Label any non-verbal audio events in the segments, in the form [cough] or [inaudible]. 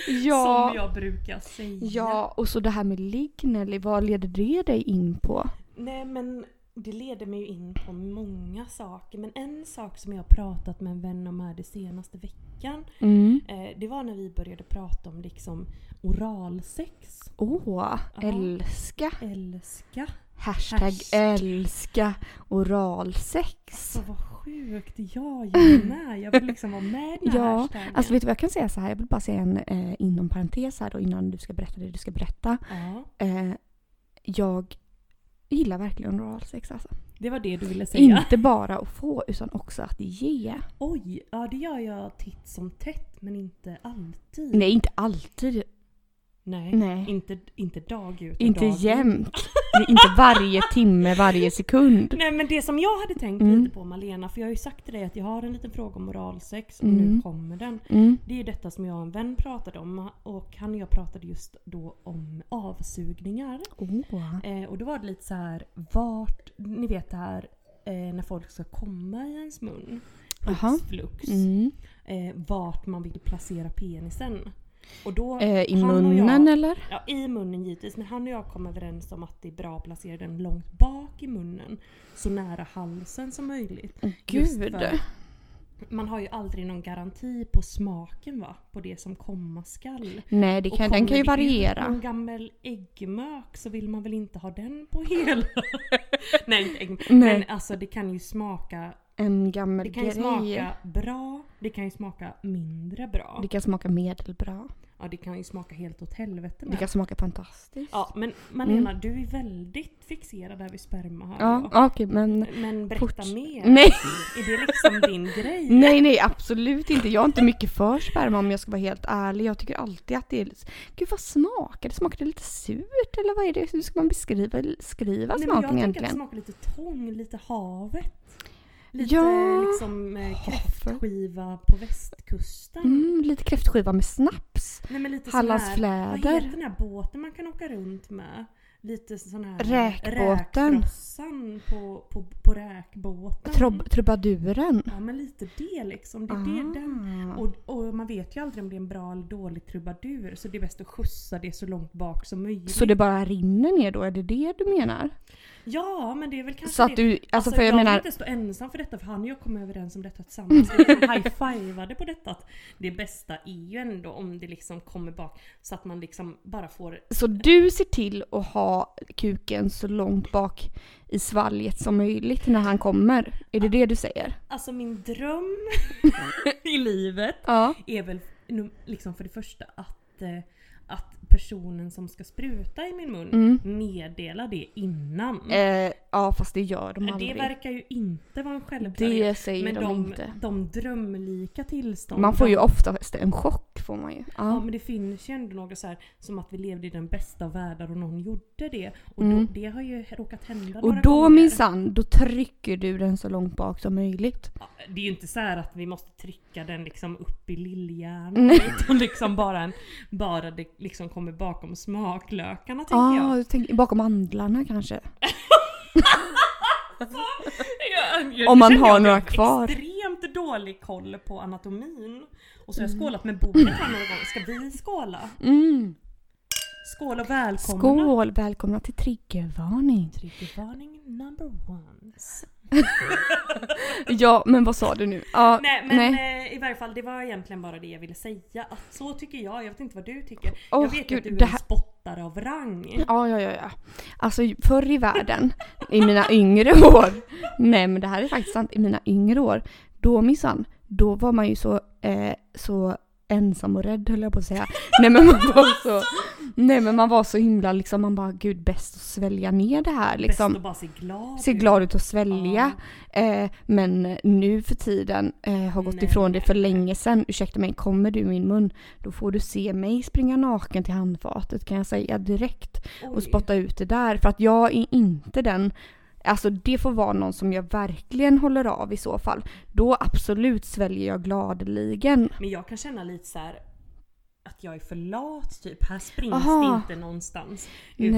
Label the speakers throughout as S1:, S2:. S1: Som jag brukar säga.
S2: ja, och så det här med ligg Nelly, vad leder det dig in på?
S1: Nej men det leder mig ju in på många saker. Men en sak som jag har pratat med en vän om här den senaste veckan.
S2: Mm.
S1: Eh, det var när vi började prata om liksom oralsex.
S2: Åh,
S1: Ja.
S2: älska.
S1: Älska. Alltså,
S2: Hashtag,
S1: Hashtag.
S2: älska oralsex.
S1: Så vad sjukt. Jag
S2: [clears throat]
S1: ju med. Jag vill liksom vara med i den här
S2: Ja,
S1: hashtaggen.
S2: Alltså vet du vad jag kan säga så här? Jag vill bara säga en eh, inom parentes här då innan du ska berätta det du ska berätta.
S1: ja,
S2: Eh, jag gillar verkligen oralsex alltså.
S1: det var det du ville säga.
S2: Inte bara att få utan också att ge.
S1: Oj, ja det gör jag titt som tätt men inte alltid.
S2: Nej, inte alltid.
S1: Nej.
S2: Nej.
S1: Inte, inte dag ut och
S2: Inte
S1: dag in. [laughs]
S2: jämt. Nej, inte varje timme, varje sekund.
S1: Nej men det som jag hade tänkt
S2: Typ. Mm.
S1: lite på Malena, för jag har ju sagt till dig att jag har en liten fråga om oralsex och
S2: Mm.
S1: nu kommer den.
S2: Mm.
S1: Det är ju detta som jag och en vän pratade om och han och jag pratade just då om avsugningar.
S2: Åh.
S1: Eh, och då var det lite så här vart, ni vet det här eh, när folk ska komma i ens mun.
S2: Jaha.
S1: Hux flux.
S2: Mm.
S1: Eh, vart man vill placera penisen. Och då,
S2: Eh, I
S1: han och
S2: munnen
S1: jag,
S2: eller?
S1: Ja, i munnen givetvis. Men han och jag kom överens om att det är bra att placera den långt bak i munnen. Så nära halsen som möjligt.
S2: Åh,
S1: Mm, Just
S2: Gud.
S1: för- Man har ju aldrig någon garanti på smaken va? På det som komma skall.
S2: Nej, det
S1: Och
S2: kan, den
S1: kommer
S2: kan ju
S1: det ut
S2: variera.
S1: någon gammal äggmök så vill man väl inte ha den på hela... [laughs] Nej inte äggmök.
S2: Nej.
S1: Men alltså det kan ju smaka...
S2: En gammal
S1: Det kan ju
S2: grej.
S1: smaka bra, det kan ju smaka mindre bra.
S2: Det kan smaka medelbra.
S1: Ja det kan ju smaka helt åt helvete
S2: Det
S1: med.
S2: kan smaka fantastiskt.
S1: Ja men Malena du är väldigt fixerad där vid sperma hör
S2: Mm. ja,
S1: jag.
S2: ja okej men...
S1: Men berätta
S2: Fort.
S1: mer.
S2: Nej,
S1: Är det
S2: [laughs]
S1: liksom din grej?
S2: nej, nej absolut inte. Jag är inte mycket för sperma om jag ska vara helt ärlig. Jag tycker alltid att det är... Gud vad smakar det? Smakar det lite surt eller vad är det? Hur ska man beskriva skriva
S1: Nej, men jag
S2: smaken
S1: tänker att det
S2: egentligen?
S1: smakar lite tång, lite havet. Lite
S2: Ja.
S1: liksom eh,
S2: Havet.
S1: kräftskiva på västkusten.
S2: Mm, lite kräftskiva med snaps.
S1: Nej, men lite sån
S2: Hallands
S1: här- Vad heter
S2: fläder.
S1: den här båten man kan åka runt med? Lite sån här...
S2: Räkbåten.
S1: Räkfrossan på, på, på räkbåten.
S2: Trob- trubaduren.
S1: Ja men lite det liksom. Det, det är den.
S2: Ah.
S1: Och, och man vet ju aldrig om det är en bra eller dålig trubadur så det är bäst att skjutsa det så långt bak som möjligt.
S2: Så det bara rinner ner då? Är det det du menar?
S1: Ja men det är väl kanske
S2: Så att
S1: Alltså det.
S2: du, alltså, för jag,
S1: jag vill
S2: menar,
S1: inte stå ensam för detta för han och jag kom överens om detta tillsammans. Vi liksom [laughs] high-fivade på detta att det bästa är ju ändå om det liksom kommer bak så att man liksom bara får
S2: så du ser till att ha kuken så långt bak i svalget som möjligt när han kommer? Är det det du säger?
S1: Alltså min dröm [laughs] i livet
S2: Ja.
S1: är väl nu- liksom för det första att, eh, att personen som ska spruta i min mun meddelar det innan.
S2: Mm. Eh, ja fast det gör de
S1: det
S2: aldrig.
S1: verkar ju inte vara en självklarhet.
S2: Det säger
S1: Men
S2: de,
S1: de,
S2: inte.
S1: de drömlika tillstånd.
S2: Man får ju
S1: de,
S2: oftast en chock får man ju.
S1: Ja
S2: Ja.
S1: men det finns ju ändå något så här som att vi levde i den bästa av världar och någon gjorde det. Och
S2: Mm.
S1: då, det har ju råkat hända
S2: Och
S1: några
S2: då
S1: gånger.
S2: minsann, då trycker du den så långt bak som möjligt.
S1: Ja, Det är ju inte så här att vi måste trycka den liksom upp i lillhjärnan.
S2: Nej.
S1: Utan liksom bara, en, bara det liksom kommer bakom
S2: Ah.
S1: smaklökarna tänker
S2: Ja,
S1: jag.
S2: du tänker- bakom andlarna kanske.
S1: Jag- jag-
S2: Om man
S1: känner
S2: har
S1: jag
S2: några
S1: att jag
S2: kvar.
S1: har Extremt dålig koll på anatomin. Och så har jag skålat med bordet här några gånger. Ska vi skåla?
S2: Mm.
S1: Skål och välkomna!
S2: Skål! Välkomna till triggervarning.
S1: Triggervarning number one.
S2: Ja, men vad sa du nu? Ja,
S1: Nej men eh, i varje fall det var egentligen bara det jag ville säga. Att så tycker jag, jag vet inte vad du tycker.
S2: Åh,
S1: jag vet ju
S2: gud,
S1: att du
S2: det
S1: är
S2: här- Liksom,
S1: en spottare av rang.
S2: Ja, ja, ja, ja. Alltså förr i världen, i mina yngre [laughs] år. Nej men det här är faktiskt sant, i mina yngre år. Då minsann, då var man ju så, eh, så ensam och rädd höll jag på att säga. Nej men man var så, nej, men man var så himla liksom, man bara gud bäst att svälja ner det här
S1: Bäst
S2: liksom.
S1: att bara se glad
S2: Se
S1: ut.
S2: glad ut och svälja. Eh, men nu för tiden eh, har gått
S1: Nej.
S2: ifrån det för länge sedan. Ursäkta mig, kommer du i min mun då får du se mig springa naken till handfatet kan jag säga direkt och
S1: Oj.
S2: spotta ut det där. För att jag är inte den, alltså det får vara någon som jag verkligen håller av i så fall. Då absolut sväljer jag gladeligen.
S1: Men jag kan känna lite så här att jag är för lat typ. Här springs
S2: Aha.
S1: det inte någonstans.
S2: Nej.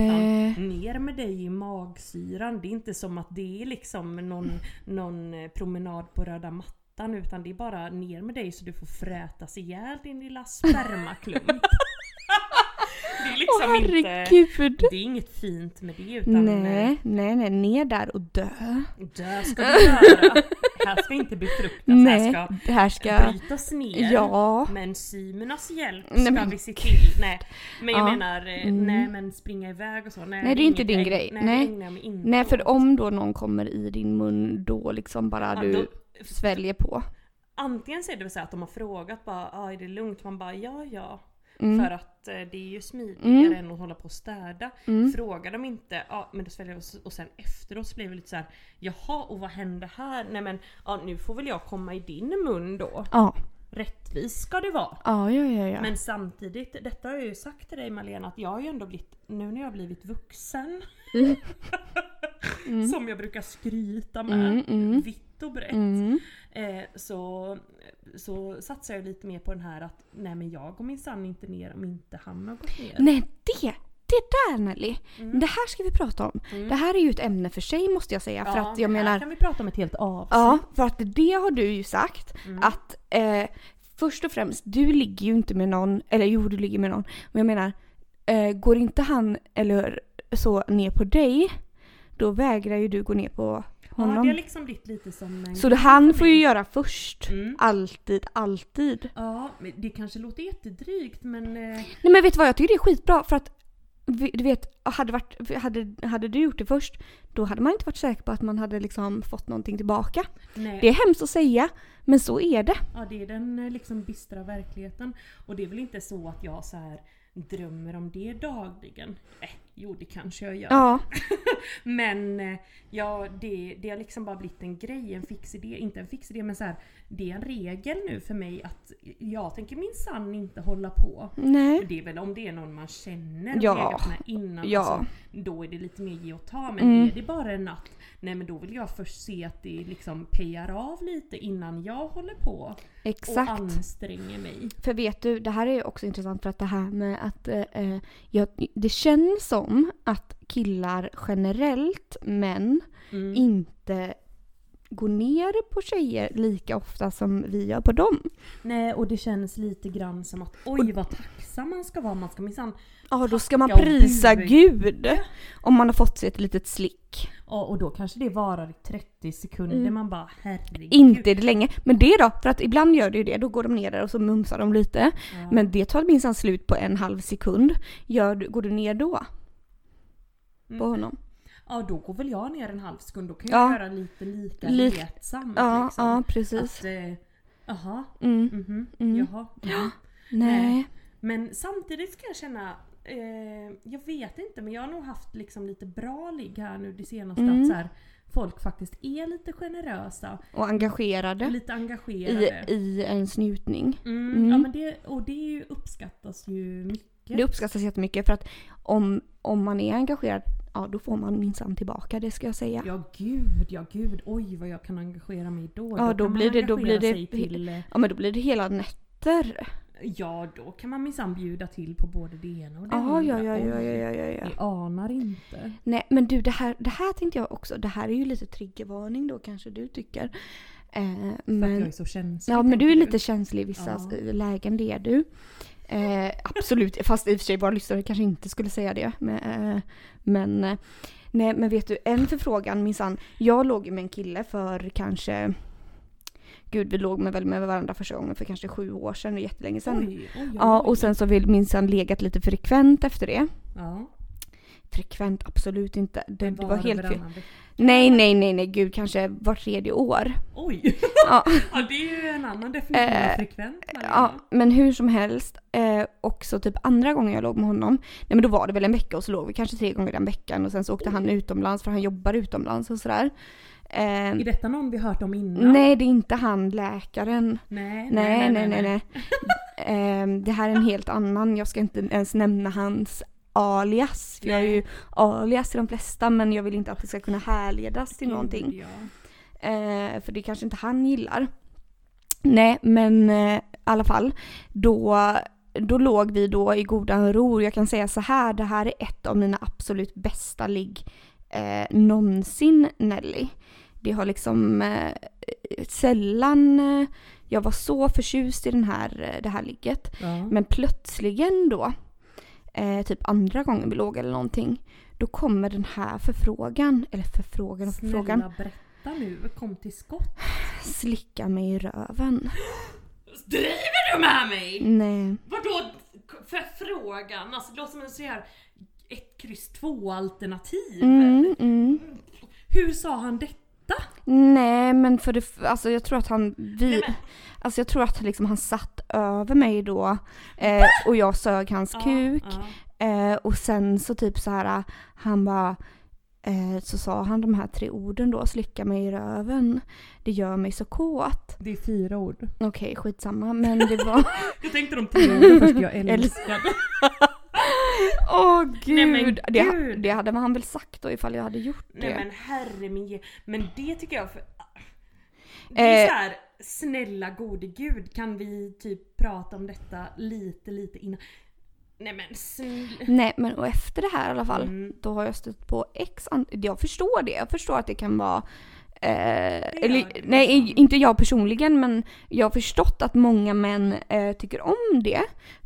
S1: Utan ner med dig i magsyran. Det är inte som att det är liksom någon, någon eh, promenad på röda mattan utan det är bara ner med dig så du får frätas ihjäl din lilla spermaklump. det är liksom
S2: Åh
S1: inte...
S2: herregud!
S1: Det är inget fint med det utan eh,
S2: Nej, nej, nej, ner där och dö.
S1: dö ska du göra. här ska inte befruktas,
S2: nej,
S1: här
S2: det här
S1: ska
S2: ska...
S1: brytas ner.
S2: Ja.
S1: Men symernas hjälp
S2: Nej,
S1: ska
S2: men
S1: vi se till. Nej men jag
S2: Ja. Mm.
S1: menar, eh, nej men springa iväg och så. Nej,
S2: det är inte din
S1: inget-
S2: grej.
S1: Nej,
S2: Nej.
S1: det ägnar jag mig inte
S2: Nej,
S1: åt.
S2: för om då någon kommer i din mun då liksom bara
S1: Mm. Ja,
S2: du
S1: då-
S2: sväljer på.
S1: Antingen så är det väl så här att de har frågat bara, ah, är det lugnt? Man bara, ja ja. För att eh, det är ju smidigare
S2: Mm.
S1: än att hålla på och städa. Frågar de inte, ja men då sväljer jag. Och- Och sen efteråt så blir det lite så här, jaha och vad hände här? Nej men ja, nu får väl jag komma i din mun då.
S2: Ja,
S1: Rättvis ska det vara.
S2: ja, ja, ja. ja.
S1: Men samtidigt, detta har jag ju sagt till dig Malena, att jag har ju ändå blivit, nu när jag har blivit vuxen,
S2: Mm.
S1: [laughs] som jag brukar skryta med,
S2: Mm, mm.
S1: vitt och brett,
S2: Mm.
S1: eh, så, så satsar jag lite mer på den här att nej men jag går minsann inte ner om inte han har gått ner.
S2: Nej, det! Det där Nelly!
S1: Mm.
S2: Det här ska vi prata om. Det här är ju ett ämne för sig måste jag säga. för att jag
S1: det här
S2: menar,
S1: kan vi prata om ett helt avsnitt.
S2: ja, för att det har du ju sagt
S1: Mm.
S2: att eh, först och främst, du ligger ju inte med någon, eller jo du ligger med någon, men jag menar, eh, går inte han eller så ner på dig, då vägrar ju du gå ner på
S1: Ja, det har
S2: honom.
S1: liksom blivit lite som en...
S2: Så det, han får ju göra först.
S1: Mm.
S2: Alltid, alltid.
S1: Ja, men det kanske låter jättedrygt men... eh,
S2: Nej men vet du vad, jag tycker det är skitbra för att vi- du vet, hade, varit, hade, hade du gjort det först då hade man inte varit säker på att man hade liksom fått någonting tillbaka.
S1: nej.
S2: Det är hemskt att säga men så är det.
S1: Ja, det är den eh, liksom bistra verkligheten. Och det är väl inte så att jag så här drömmer om det dagligen. Eh, jo, det kanske jag gör.
S2: Ja.
S1: Men eh, ja, det, det har liksom bara blivit en grej, en fix idé. Inte en fix idé, men så här, det är en regel nu för mig att jag tänker minsann inte hålla på.
S2: Nej.
S1: Det är väl om det är någon man känner och
S2: Ja.
S1: legat med innan.
S2: Ja. Mm.
S1: Alltså, då är det lite mer ge och ta. Men är det bara en natt, nej men då vill jag först se att det liksom pejar av lite innan jag håller på
S2: Exakt.
S1: och anstränger mig.
S2: För vet du, det här är ju också intressant för att det här med att eh, eh, jag, det känns som att killar generellt, män,
S1: Mm.
S2: inte går ner på tjejer lika ofta som vi gör på dem.
S1: Nej och det känns lite grann som att oj vad tacksam man ska vara, man ska minsann...
S2: Ja, då ska man
S1: Tacka och
S2: prisa
S1: buga.
S2: Gud om man har fått sig ett litet slick.
S1: Ja, och då kanske det varar i 30 sekunder, man bara herregud.
S2: Mm. Inte det länge, men det då? För att ibland gör det ju det, då går de ner där och så mumsar de lite. Men det tar minsann slut på en halv sekund. Gör, du- går du ner då? På
S1: Mm.
S2: honom?
S1: Ja då går väl jag ner en halv sekund, då kan
S2: Ja.
S1: jag göra lite lika
S2: Lik-
S1: letsam.
S2: Ja,
S1: liksom.
S2: ja precis.
S1: Att, eh, Jaha,
S2: Mm.
S1: mhm,
S2: Mm.
S1: jaha. mhm.
S2: Nej.
S1: Men samtidigt kan jag känna, eh, jag vet inte men jag har nog haft liksom lite bra ligg här nu det senaste
S2: Mm.
S1: att så här, folk faktiskt är lite generösa,
S2: Och engagerade
S1: lite
S2: i,
S1: engagerade.
S2: i en snutning.
S1: Mm,
S2: Mm.
S1: Ja, men det, och det är ju, uppskattas ju mycket.
S2: Det uppskattas jättemycket för att om, om man är engagerad, ja då får man minsann tillbaka, det ska jag säga.
S1: Ja gud, ja gud. Oj vad jag kan engagera mig då.
S2: Ja, då
S1: kan man
S2: blir det- då
S1: engagera
S2: blir det-
S1: sig Till, eh,
S2: Ja men då blir det hela nätter.
S1: Ja, då kan man minsann bjuda till på både det ena och det
S2: Ja,
S1: andra.
S2: ja, ja, ja,
S1: Oj,
S2: ja, ja, ja.
S1: Ni anar inte.
S2: Nej men du det här, det här tänkte jag också, det här är ju lite triggervarning då kanske du tycker. Eh,
S1: För att jag
S2: men,
S1: är så känslig.
S2: ja men du är
S1: tänker
S2: lite känslig i vissa
S1: Ja.
S2: s- lägen, det är du. Eh, absolut, fast i och för sig våra lyssnare kanske inte skulle säga det. Men, eh, men, eh, nej, men vet du, en förfrågan minsann. Jag låg ju med en kille för kanske, gud vi låg med, väl med varandra första gången för kanske sju år sedan, det är jättelänge sedan.
S1: Oj, oj, oj,
S2: Ja,
S1: oj.
S2: och sen så har vi minsann legat lite frekvent efter det.
S1: Ja,
S2: Frekvent, absolut inte. Det, det var
S1: och
S2: helt fel.
S1: varannan vecka.
S2: Nej, nej, nej, nej, gud, kanske vart tredje år. [laughs]
S1: Oj!
S2: Ja.
S1: Ja. det är ju en annan definition av
S2: Eh,
S1: frekvent. Malena.
S2: Ja, men hur som helst. Eh, och så typ andra gången jag låg med honom, nej men då var det väl en vecka och så låg vi kanske tre gånger den veckan och sen så åkte han utomlands för han jobbar utomlands och sådär. Eh,
S1: Är detta någon vi hört om innan?
S2: nej, det är inte han läkaren.
S1: Nej,
S2: Nej, nej, nej, nej. Ehm, det här är en helt annan, jag ska inte ens nämna hans alias. För jag är ju alias till de flesta men jag vill inte att det ska kunna härledas till någonting.
S1: Ja.
S2: Eh, för det kanske inte han gillar. Nej, men eh, i alla fall. Då, då låg vi då i godan ro. Jag kan säga så här, det här är ett av mina absolut bästa ligg eh, någonsin Nelly. Det har liksom eh, sällan eh, jag var så förtjust i den här, eh, det här ligget.
S1: Ja.
S2: Men plötsligen då, eh, typ andra gången vi låg eller någonting, då kommer den här förfrågan, eller förfrågan och
S1: Snälla
S2: förfrågan,
S1: berätta nu, kom till skott.
S2: slicka mig i röven.
S1: Driver du med mig?
S2: Nej.
S1: Vadå förfrågan? Alltså det låter som en sån här ett kryss två alternativ.
S2: Mm, mm.
S1: Hur sa han detta?
S2: Nej men för det, f- alltså jag tror att han,
S1: Nej,
S2: vi,
S1: men-
S2: alltså jag tror att liksom han satt över mig då eh, och jag sög hans kuk.
S1: Ja,
S2: Eh, och sen så typ så här, han bara, eh, så sa han de här tre orden då, slicka mig i röven, det gör mig så kåt.
S1: Det är fyra ord.
S2: Okej, skitsamma. Men det var...
S1: [laughs] Jag tänkte de tio orden först, jag älskar.
S2: [laughs] Åh gud!
S1: Nej, men
S2: Det,
S1: gud.
S2: det hade han väl sagt då ifall jag hade gjort det.
S1: Nej men herre min ge- Men det tycker jag för... Det är
S2: Eh.
S1: så här, snälla gode gud kan vi typ prata om detta lite lite innan? Nej men snälla.
S2: Nej men och efter det här i alla fall,
S1: Mm.
S2: då har jag stött på x an- Jag förstår det, jag förstår att det kan vara Eh,
S1: gör det
S2: eller, nej,
S1: liksom.
S2: inte jag personligen men jag har förstått att många män eh, tycker om det.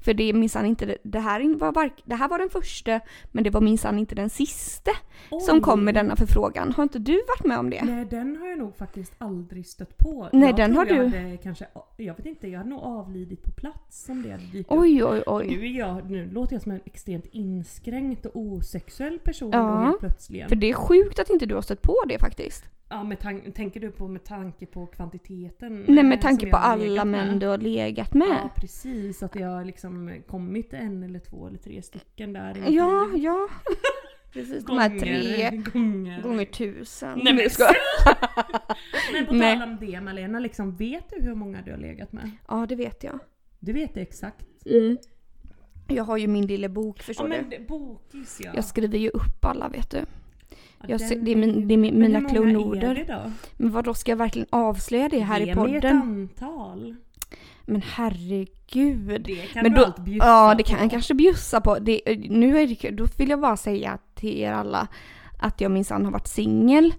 S2: För det är minsann inte, det- det här var, vark- det här var den första men det var minsann inte den sista som
S1: Oj.
S2: kom med denna förfrågan. Har inte du varit med om det?
S1: Nej den har jag nog faktiskt aldrig stött på.
S2: Nej,
S1: jag
S2: den
S1: tror
S2: har
S1: jag
S2: du.
S1: Hade, kanske, jag vet inte, jag hade nog avlidit på plats om det hade dykt upp.
S2: Oj oj oj.
S1: Nu, är jag, nu låter jag som en extremt inskränkt och osexuell person
S2: Ja.
S1: då helt plötsligen.
S2: För det är sjukt att inte du har stött på det faktiskt.
S1: Ja, med tan- tänker du på med tanke på kvantiteten?
S2: Nej med
S1: eh,
S2: tanke
S1: som
S2: på
S1: jag har legat
S2: alla
S1: med?
S2: män du har legat med.
S1: Ja precis, att jag har liksom kommit en eller två eller tre stycken där. i mitt
S2: Ja,
S1: liv. [laughs]
S2: ja. Precis, de
S1: gånger,
S2: här tre
S1: gånger. [laughs]
S2: gånger tusen.
S1: Nej,
S2: [laughs]
S1: men
S2: ska...
S1: Men på
S2: Nej.
S1: tal om det Malena, liksom, vet du hur många du har legat med?
S2: Ja det vet jag.
S1: Du vet det exakt.
S2: Jag har ju min lilla bok förstår
S1: Ja
S2: du.
S1: men det- bokis ja.
S2: Jag skriver ju upp alla vet du.
S1: ja
S2: Jag
S1: den
S2: ser, det är,
S1: ju-
S2: min, det är mi-
S1: Men hur
S2: mina
S1: många Är det
S2: klonorder.
S1: då?
S2: Men vadå ska jag verkligen avslöja det här
S1: Ge
S2: i
S1: mig ett
S2: podden?
S1: antal.
S2: Men herregud.
S1: Det kan
S2: Men
S1: du
S2: då-
S1: allt bjussa
S2: Ja, det kan
S1: på.
S2: jag kanske bjussa på. Det, nu är det, då vill jag bara säga till er alla att jag minsann har varit singel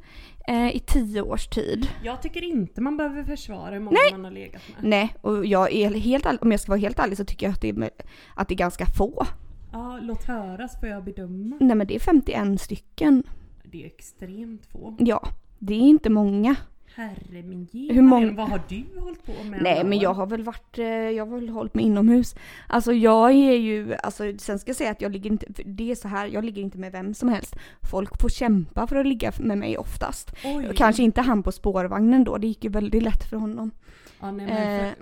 S2: eh, i tio års tid.
S1: Jag tycker inte man behöver försvara hur många man har legat med.
S2: Nej, och jag är helt all, om jag ska vara helt ärlig så tycker jag att det är, att det är ganska få.
S1: Ja, låt höra så får jag bedöma.
S2: Nej men det är 51 stycken.
S1: Det är extremt få.
S2: Ja, det är inte många.
S1: Herre min
S2: Hur
S1: ge,
S2: många-
S1: Malena, vad har du hållit på med?
S2: Nej
S1: alla
S2: men
S1: år?
S2: jag har väl varit, eh, jag har väl hållit mig inomhus. Alltså jag är ju, alltså sen ska jag säga att jag ligger inte, för det är så här, jag ligger inte med vem som helst. Folk får kämpa för att ligga med mig oftast.
S1: Oj.
S2: Kanske inte han på spårvagnen då, det gick ju väldigt lätt för honom.
S1: Ja, nej, men
S2: Eh,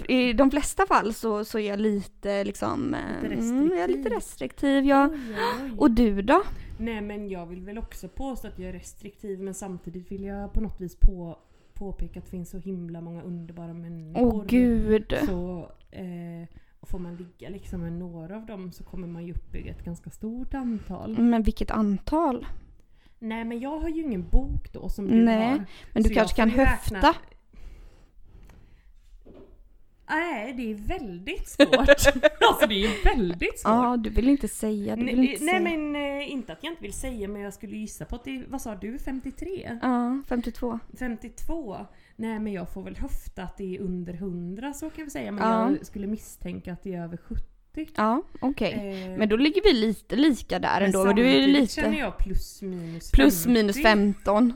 S2: men i de flesta fall så, så är jag lite liksom... eh,
S1: Lite
S2: mm, jag är lite
S1: restriktiv.
S2: restriktiv Mm.
S1: för,
S2: ja.
S1: oj, oj.
S2: Och du då?
S1: nej men jag vill väl också påstå att jag är restriktiv men samtidigt vill jag på något vis på, påpeka att det finns så himla många underbara
S2: Åh
S1: människor.
S2: gud.
S1: Så eh, får man ligga liksom med några av dem så kommer man ju upp i ett ganska stort antal.
S2: Men vilket antal.
S1: Nej men jag har ju ingen bok då som du
S2: Nej,
S1: har.
S2: Men du
S1: Så
S2: kanske
S1: jag
S2: kan
S1: får ju räkna-
S2: höfta?
S1: Nej, det är väldigt svårt. [laughs] alltså det är väldigt svårt.
S2: Ja, du vill inte säga. Du vill
S1: Nej,
S2: inte
S1: nej
S2: säga.
S1: men eh, inte att jag inte vill säga men jag skulle gissa på att det vad sa du, 53?
S2: Ja, 52.
S1: 52? Nej men jag får väl höfta att det är under 100 så kan vi säga men
S2: Ja.
S1: jag skulle misstänka att det är över 70.
S2: Ja, okej.
S1: Eh,
S2: Men då ligger vi lite lika där ändå. Men du är ju
S1: samtidigt
S2: lite...
S1: känner jag plus minus
S2: Plus minus 15.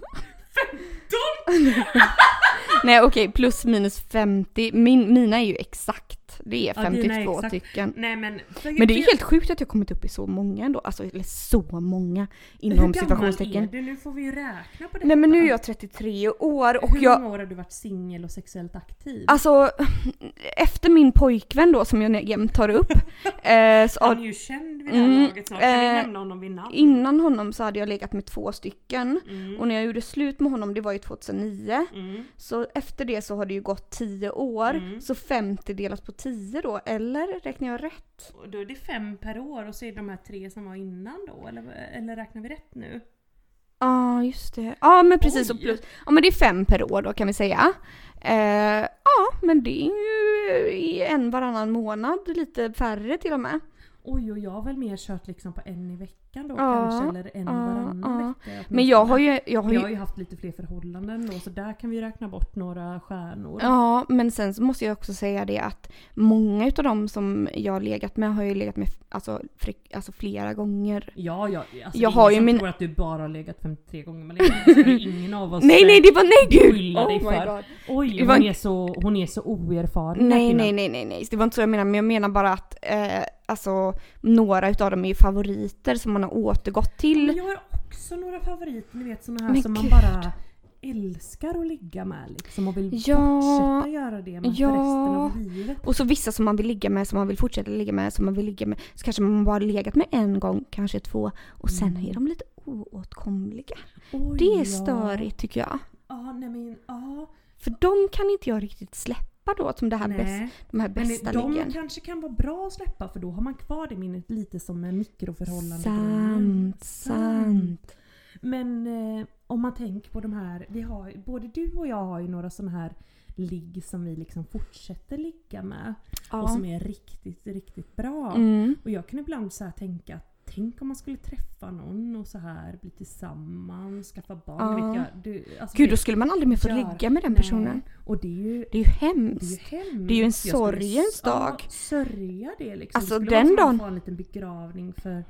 S2: [laughs] Nej okej, plus minus 50. Min, mina är ju exakt. Det är
S1: Ja, dina
S2: 52
S1: är exakt.
S2: stycken.
S1: Nej men...
S2: Men det är ju helt sjukt att jag kommit upp i så många ändå. Alltså eller så många inom
S1: Hur gammal
S2: situationstecken.
S1: är du? Nu får vi ju räkna på detta.
S2: Nej men nu är jag 33 år och
S1: Hur
S2: jag...
S1: många år har du varit singel och sexuellt aktiv?
S2: Alltså efter min pojkvän då som jag jämt tar
S1: [laughs]
S2: upp. eh, så,
S1: Han är ju känd vid det här
S2: Mm,
S1: laget snart. Kan vi
S2: eh,
S1: nämna honom vid namn?
S2: innan honom så hade jag legat med två stycken.
S1: Mm,
S2: Och när jag gjorde slut med honom, det var ju 2009.
S1: mm.
S2: Så efter det så har det ju gått 10 år.
S1: Mm.
S2: Så 50 delat på 10 då, eller räknar jag rätt?
S1: Och Då är det fem per år och så är det de här tre som var innan då, eller, eller räknar vi rätt nu?
S2: Ja ah, just det. Ja ah, men precis.
S1: Oj.
S2: Och plus, ja men det är fem per år då kan vi säga. Ja eh, ja, men det är ju i en varannan månad, lite färre till och med.
S1: Oj, och jag har väl mer kört liksom på en i veckan då
S2: Ja,
S1: kanske, eller en
S2: ja,
S1: varannan
S2: ja.
S1: vecka.
S2: Men jag har ju... Jag har
S1: jag har
S2: ju
S1: ju haft lite fler förhållanden då, så där kan vi ju räkna bort några stjärnor.
S2: Ja, men sen så måste jag också säga det att många utav dem som jag har legat med har jag ju legat med alltså, fre- alltså flera gånger.
S1: Ja, ja alltså
S2: Jag
S1: det är
S2: har
S1: ingen
S2: ju
S1: som
S2: min-
S1: tror att du bara har legat 53 gånger med Lena. Det är ingen av
S2: [laughs]
S1: oss
S2: Nej nej det var nej gud! Oh
S1: beskylla dig för. Oj,
S2: Det var
S1: hon,
S2: en-
S1: är så, hon är så oerfaren. den här
S2: Nej
S1: kvinnan.
S2: nej nej nej nej, det var inte så jag menade men jag menar bara att eh, alltså några utav dem är ju favoriter som man har återgått
S1: Men
S2: till.
S1: jag har också några favoriter, ni vet såna här
S2: Men
S1: som man
S2: gud.
S1: bara älskar att ligga med liksom och vill
S2: Ja.
S1: fortsätta göra det med
S2: Ja.
S1: för resten av livet.
S2: Och så vissa som man vill ligga med, som man vill fortsätta ligga med, som man vill ligga med. Så kanske man bara legat med en gång, kanske två. Och sen är de lite oåtkomliga.
S1: Mm. Oj,
S2: Det är
S1: ja.
S2: störigt tycker jag.
S1: Ja, nej men ja.
S2: För de kan inte jag riktigt släppa då som det här bäst,
S1: Nej.
S2: de här
S1: Men
S2: bästa
S1: det, de
S2: liggen.
S1: kanske kan vara bra att släppa för då har man kvar det minnet lite som en mikroförhållande.
S2: Sant, sant.
S1: Men eh, om man tänker på de här, vi har, både du och jag har ju några sådana här ligg som vi liksom fortsätter ligga med. Och
S2: Ja.
S1: som är riktigt, riktigt bra.
S2: Mm.
S1: Och jag kan ibland så här tänka att tänk om man skulle träffa någon och så här bli tillsammans, skaffa barn.
S2: Ja.
S1: Vet jag, du, alltså
S2: Gud,
S1: det-
S2: då skulle man aldrig mer få
S1: gör-
S2: ligga med den
S1: nej.
S2: personen.
S1: Och det är ju
S2: Det är ju
S1: det är ju
S2: hemskt.
S1: hemskt.
S2: Det är ju en
S1: Jag skulle
S2: sorgens
S1: s- ja,
S2: dag.
S1: sörja det liksom.
S2: Alltså,
S1: Det skulle
S2: den
S1: vara som
S2: dagen-
S1: att få en liten begravning för,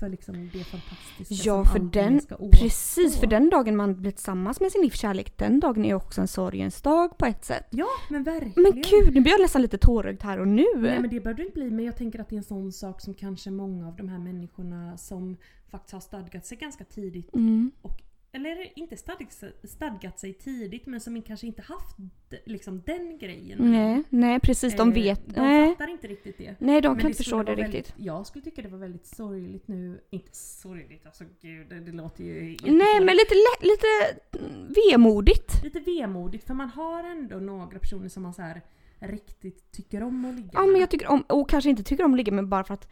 S1: för liksom det fantastiska
S2: Ja,
S1: som
S2: för
S1: aldrig
S2: den-
S1: ska å-
S2: Precis, för den dagen man blir tillsammans med sin livskärlek, den dagen är också en sorgens dag på ett sätt.
S1: Ja, men verkligen.
S2: Men gud, nu blir jag nästan lite tårögd här och nu.
S1: Nej men det behöver det inte bli men jag tänker att det är en sån sak som kanske många av de här människorna som faktiskt har stadgat sig ganska tidigt
S2: Mm.
S1: och, eller inte stadgat sig, stadgat sig tidigt men som kanske inte haft liksom den grejen.
S2: Nej, nej precis, de
S1: Eh,
S2: vet.
S1: De
S2: nej.
S1: fattar inte riktigt det.
S2: nej, de
S1: Men
S2: kan inte förstå det
S1: skulle vara
S2: riktigt.
S1: Väldigt, jag skulle tycka det var väldigt sorgligt nu. Inte sorgligt, alltså gud det, det låter ju
S2: Nej,
S1: jättefånigt.
S2: men lite, lä- lite vemodigt.
S1: Lite vemodigt för man har ändå några personer som man så här riktigt tycker om att ligga
S2: Ja, men jag tycker om, och kanske inte tycker om att ligga med bara för att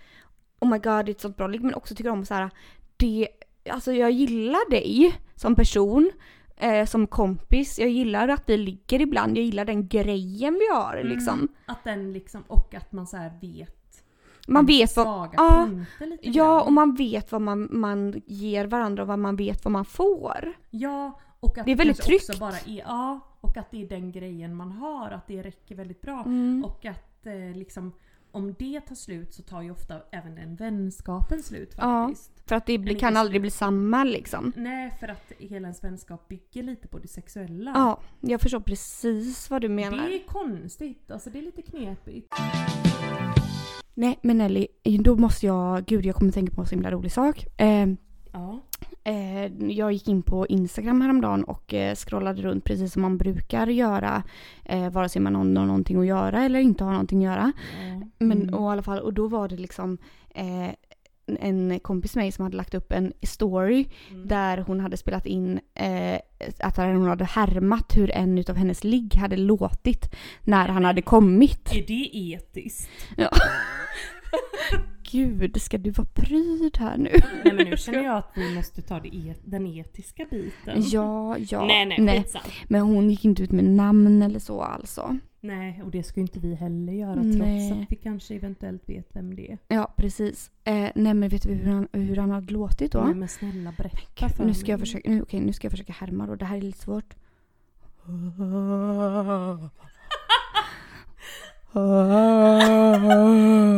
S2: oh my god, det är ett sånt bra ligg, men också tycker om så här, det, alltså jag gillar dig som person, eh, som kompis, jag gillar att vi ligger ibland, jag gillar den grejen vi har
S1: Mm.
S2: liksom.
S1: Att den liksom, och att man så här vet
S2: Man vet vad,
S1: svaga
S2: ja,
S1: punkter lite
S2: ja
S1: grann.
S2: och man vet vad man, man ger varandra och vad man vet vad man får.
S1: ja, och att
S2: Det är väldigt
S1: kanske också
S2: tryggt.
S1: Bara är, ja, och att det är den grejen man har, att det räcker väldigt bra.
S2: Mm.
S1: Och att eh, liksom, om det tar slut så tar ju ofta även den vänskapen slut
S2: Ja.
S1: faktiskt.
S2: För att det
S1: men
S2: blir,
S1: just
S2: kan
S1: det.
S2: aldrig bli samma liksom.
S1: Nej, för att hela ens vänskap bygger lite på det sexuella.
S2: Ja, jag förstår precis vad du menar.
S1: det är konstigt, alltså det är lite knepigt.
S2: Nej men Nelly, då måste jag, gud jag kommer tänka på en så himla rolig sak. Eh,
S1: Ja.
S2: Eh, jag gick in på Instagram häromdagen och eh, scrollade runt precis som man brukar göra. Eh, vare sig man har nå- någonting att göra eller inte har någonting att göra.
S1: ja.
S2: Men
S1: Mm.
S2: och i alla fall, och då var det liksom eh, en kompis med mig som hade lagt upp en story
S1: Mm.
S2: där hon hade spelat in eh, att hon hade härmat hur en utav hennes ligg hade låtit när han hade kommit.
S1: Är det etiskt?
S2: [laughs] Gud, ska du vara pryd här nu?
S1: Nej men nu känner jag att vi måste ta det et- den etiska biten.
S2: Ja, ja.
S1: nej nej, skitsamma.
S2: Men hon gick inte ut med namn eller så alltså.
S1: Nej, och det ska ju inte vi heller göra
S2: Nej.
S1: trots att vi kanske eventuellt vet vem det är.
S2: Ja, precis. Eh, nej men vet du hur han, hur han hade låtit då?
S1: Nej, men snälla berätta för
S2: nu, ska jag
S1: mig.
S2: försöka, nu, okej, nu ska jag försöka härma då. Det här är lite [laughs] svårt.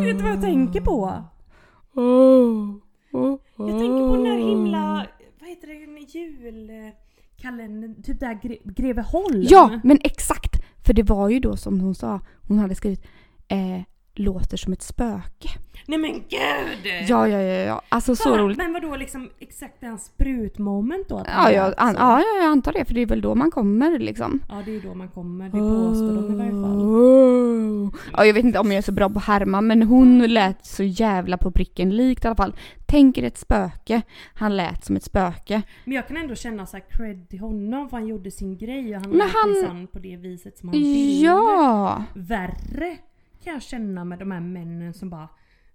S1: Vet du vad jag tänker på? Jag tänker på den
S2: Mm.
S1: där himla, vad heter det, en julkalender, typ där Gre- Greveholm.
S2: Ja, men exakt! För det var ju då som hon sa, hon hade skrivit eh, låter som ett spöke.
S1: Nej men gud!
S2: Ja, ja, ja, Eh. ja. Alltså så
S1: Fan,
S2: roligt.
S1: Men vadå liksom exakt den sprutmoment då? att
S2: Ja,
S1: man
S2: jag,
S1: lät
S2: an,
S1: så?
S2: ja, ja, jag antar det för det är väl då man kommer liksom.
S1: Ja, det är ju då man kommer, det påstår de i varje
S2: Oh.
S1: fall.
S2: Ja, jag vet inte om jag är så bra på att härma men hon lät så jävla på pricken likt i alla fall. Tänk er ett spöke. Han lät som ett spöke.
S1: Men jag kan ändå känna så här cred till honom för han gjorde sin grej och han
S2: Men
S1: lät
S2: han-
S1: minsann på det viset som han ville.
S2: Ja!
S1: Värre kan jag känna med de här männen som bara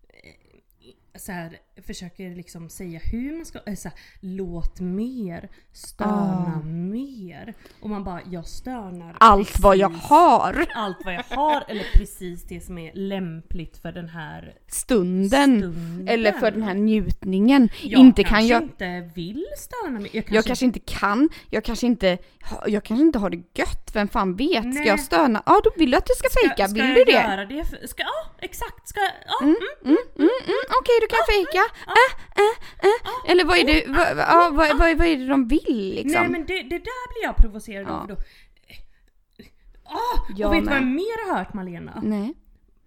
S1: eh, så här, försöker liksom säga hur man ska, eh, så här, låt mer, stöna
S2: Ah.
S1: mer. Och man bara, jag stönar
S2: Allt vad jag
S1: precis-
S2: har.
S1: Allt vad jag har eller precis det som är lämpligt för den här
S2: Stunden.
S1: stunden.
S2: Eller för den här njutningen.
S1: Jag
S2: inte
S1: kanske
S2: kan jag...
S1: inte vill stöna mig. Jag kanske,
S2: Jag kanske inte kan, jag kanske inte, ha- jag kanske inte har det gött, vem fan vet? Ska
S1: Nej.
S2: jag stöna? Ja då vill du att du ska
S1: Ska-
S2: fejka,
S1: ska
S2: vill
S1: jag
S2: du det?
S1: Göra det för, ska, ja, exakt. Ska, ja, mm.
S2: Mm, mm, mm, Okej, du
S1: Ah,
S2: kan fejka. Äh, äh, äh. Eller vad är det, vad, ja, vad, vad, vad är det de vill liksom?
S1: ah, Nej men det, det där blir jag provocerad
S2: Ja.
S1: av. för Då. Ah,
S2: Jag
S1: och vet du
S2: med.
S1: vad Mm. jag mer har hört Malena?
S2: Nej.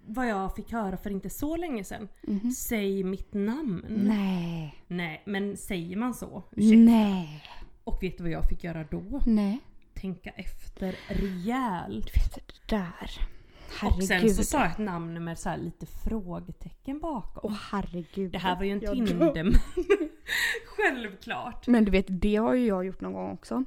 S1: Vad jag fick höra för inte så länge sedan. Säg mitt namn.
S2: Mhm. Nej. Mm.
S1: Nej, men säger man så? Ursäkta.
S2: Nej.
S1: Och vet du vad jag fick göra då?
S2: Nej.
S1: Tänka efter rejält.
S2: Du vet det där.
S1: Och sen
S2: Herregud.
S1: så sa jag ett namn med så här lite frågetecken bakom.
S2: Åh herregud.
S1: Det här var ju en
S2: Jag
S1: Tinderman. Självklart.
S2: Men du vet, det har ju jag gjort någon gång också.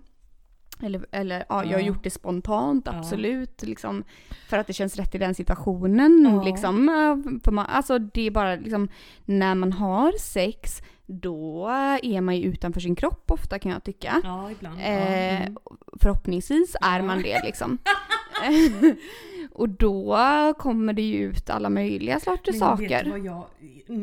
S2: Eller, eller ja, jag har
S1: Ja.
S2: gjort det spontant,
S1: Ja.
S2: absolut. Liksom, för att det känns rätt i den situationen.
S1: Ja.
S2: Liksom, eh, för man, alltså det är bara liksom, när man har sex, då är man ju utanför sin kropp ofta kan jag tycka.
S1: Ja, ibland. Ja,
S2: Eh,
S1: mm.
S2: förhoppningsvis är
S1: Ja.
S2: man det
S1: [laughs]
S2: liksom. [laughs] och då kommer det ju ut alla möjliga sorters
S1: Men Vet du
S2: saker.
S1: vad jag,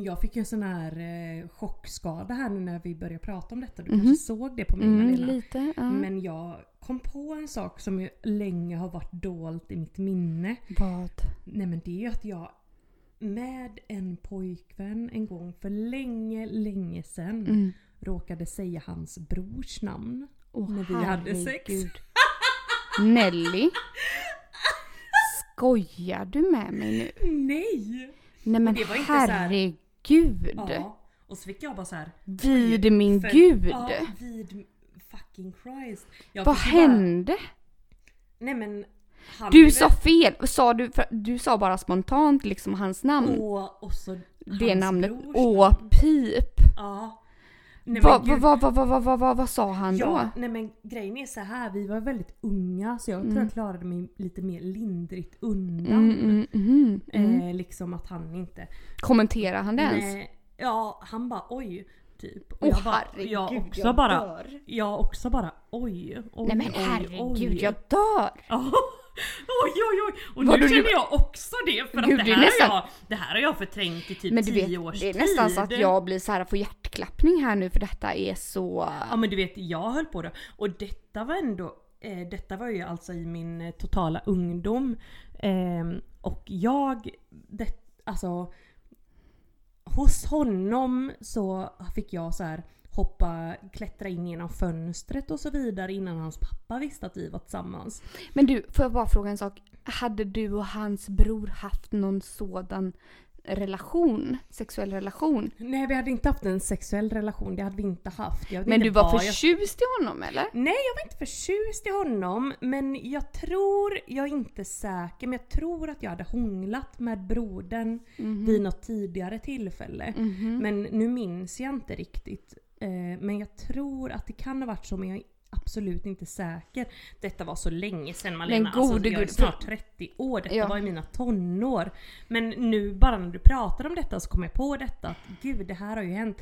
S1: jag fick ju en sån här eh, chockskada här nu när vi började prata om detta. Du
S2: Mhm.
S1: kanske såg det på mig
S2: Mm,
S1: Malena.
S2: lite. Ja.
S1: Men jag kom på en sak som ju länge har varit dolt i mitt minne.
S2: Vad?
S1: Nej men det är ju att jag med en pojkvän en gång för länge, länge sedan
S2: Mm.
S1: råkade säga hans brors namn.
S2: Åh,
S1: När vi hade sex.
S2: herregud. Nelly. Skojar du med mig nu?
S1: [laughs] Nej!
S2: Nej men
S1: det var inte så här-
S2: herregud.
S1: Ja. Och så fick jag bara så här.
S2: Vid min
S1: för-
S2: gud.
S1: Ja, vid fucking Christ. Jag
S2: Vad
S1: fick ju bara-
S2: hände?
S1: Nej men. han blev-
S2: Du sa fel! Sa du, för, du sa bara spontant liksom hans namn.
S1: Och, och så
S2: det
S1: hans
S2: namnet.
S1: brors
S2: Åh,
S1: namn.
S2: pip.
S1: Ja. Nej,
S2: Vad
S1: gud.
S2: va, va, va, va, va, va, vad sa han
S1: ja,
S2: då?
S1: nej men grejen är så här, vi var väldigt unga så jag tror jag klarade mig lite mer lindrigt undan.
S2: Mm, mm, mm, mm.
S1: Eh, liksom att han inte...
S2: Kommenterar han det ens?
S1: Nej, ja, han bara oj. Typ. Och
S2: Åh
S1: jag, bara,
S2: herregud,
S1: jag också
S2: jag
S1: bara
S2: dör.
S1: Jag också bara oj, oj,
S2: Nej men
S1: oj,
S2: herregud,
S1: oj.
S2: jag dör!
S1: Ja. [laughs] Oj oj oj! Och
S2: Vad
S1: nu
S2: du-
S1: känner jag också det för
S2: Gud, det
S1: att det
S2: är
S1: här,
S2: nästan-
S1: har jag, det här har jag förträngt i typ
S2: Men du vet,
S1: tio års
S2: det är nästan så att
S1: tid.
S2: jag blir så här, får hjärtklappning här nu för detta är så...
S1: Ja men du vet, jag höll på det. Och detta var ändå, eh, detta var ju alltså i min eh, totala ungdom. Ehm, och jag, det, alltså hos honom så fick jag så här hoppa, klättra in genom fönstret och så vidare innan hans pappa visste att vi var tillsammans.
S2: Men du, får jag bara fråga en sak? Hade du och hans bror haft någon sådan relation? Sexuell relation?
S1: Nej vi hade inte haft en sexuell relation, det hade vi inte haft. Jag vet
S2: Men
S1: inte
S2: du var
S1: vad jag
S2: förtjust i honom eller?
S1: Nej, jag var inte förtjust i honom, men jag tror, jag är inte säker, men jag tror att jag hade hånglat med brodern
S2: Mhm.
S1: vid något tidigare tillfälle.
S2: Mm.
S1: Men nu minns jag inte riktigt. Eh, Men jag tror att det kan ha varit så, men jag är absolut inte säker. Detta var så länge sedan Malena,
S2: Men gode
S1: alltså, jag är
S2: gud,
S1: snart 30 år, detta
S2: Ja.
S1: var i mina tonår. Men nu bara när du pratar om detta så kommer jag på detta, att gud det här har ju hänt.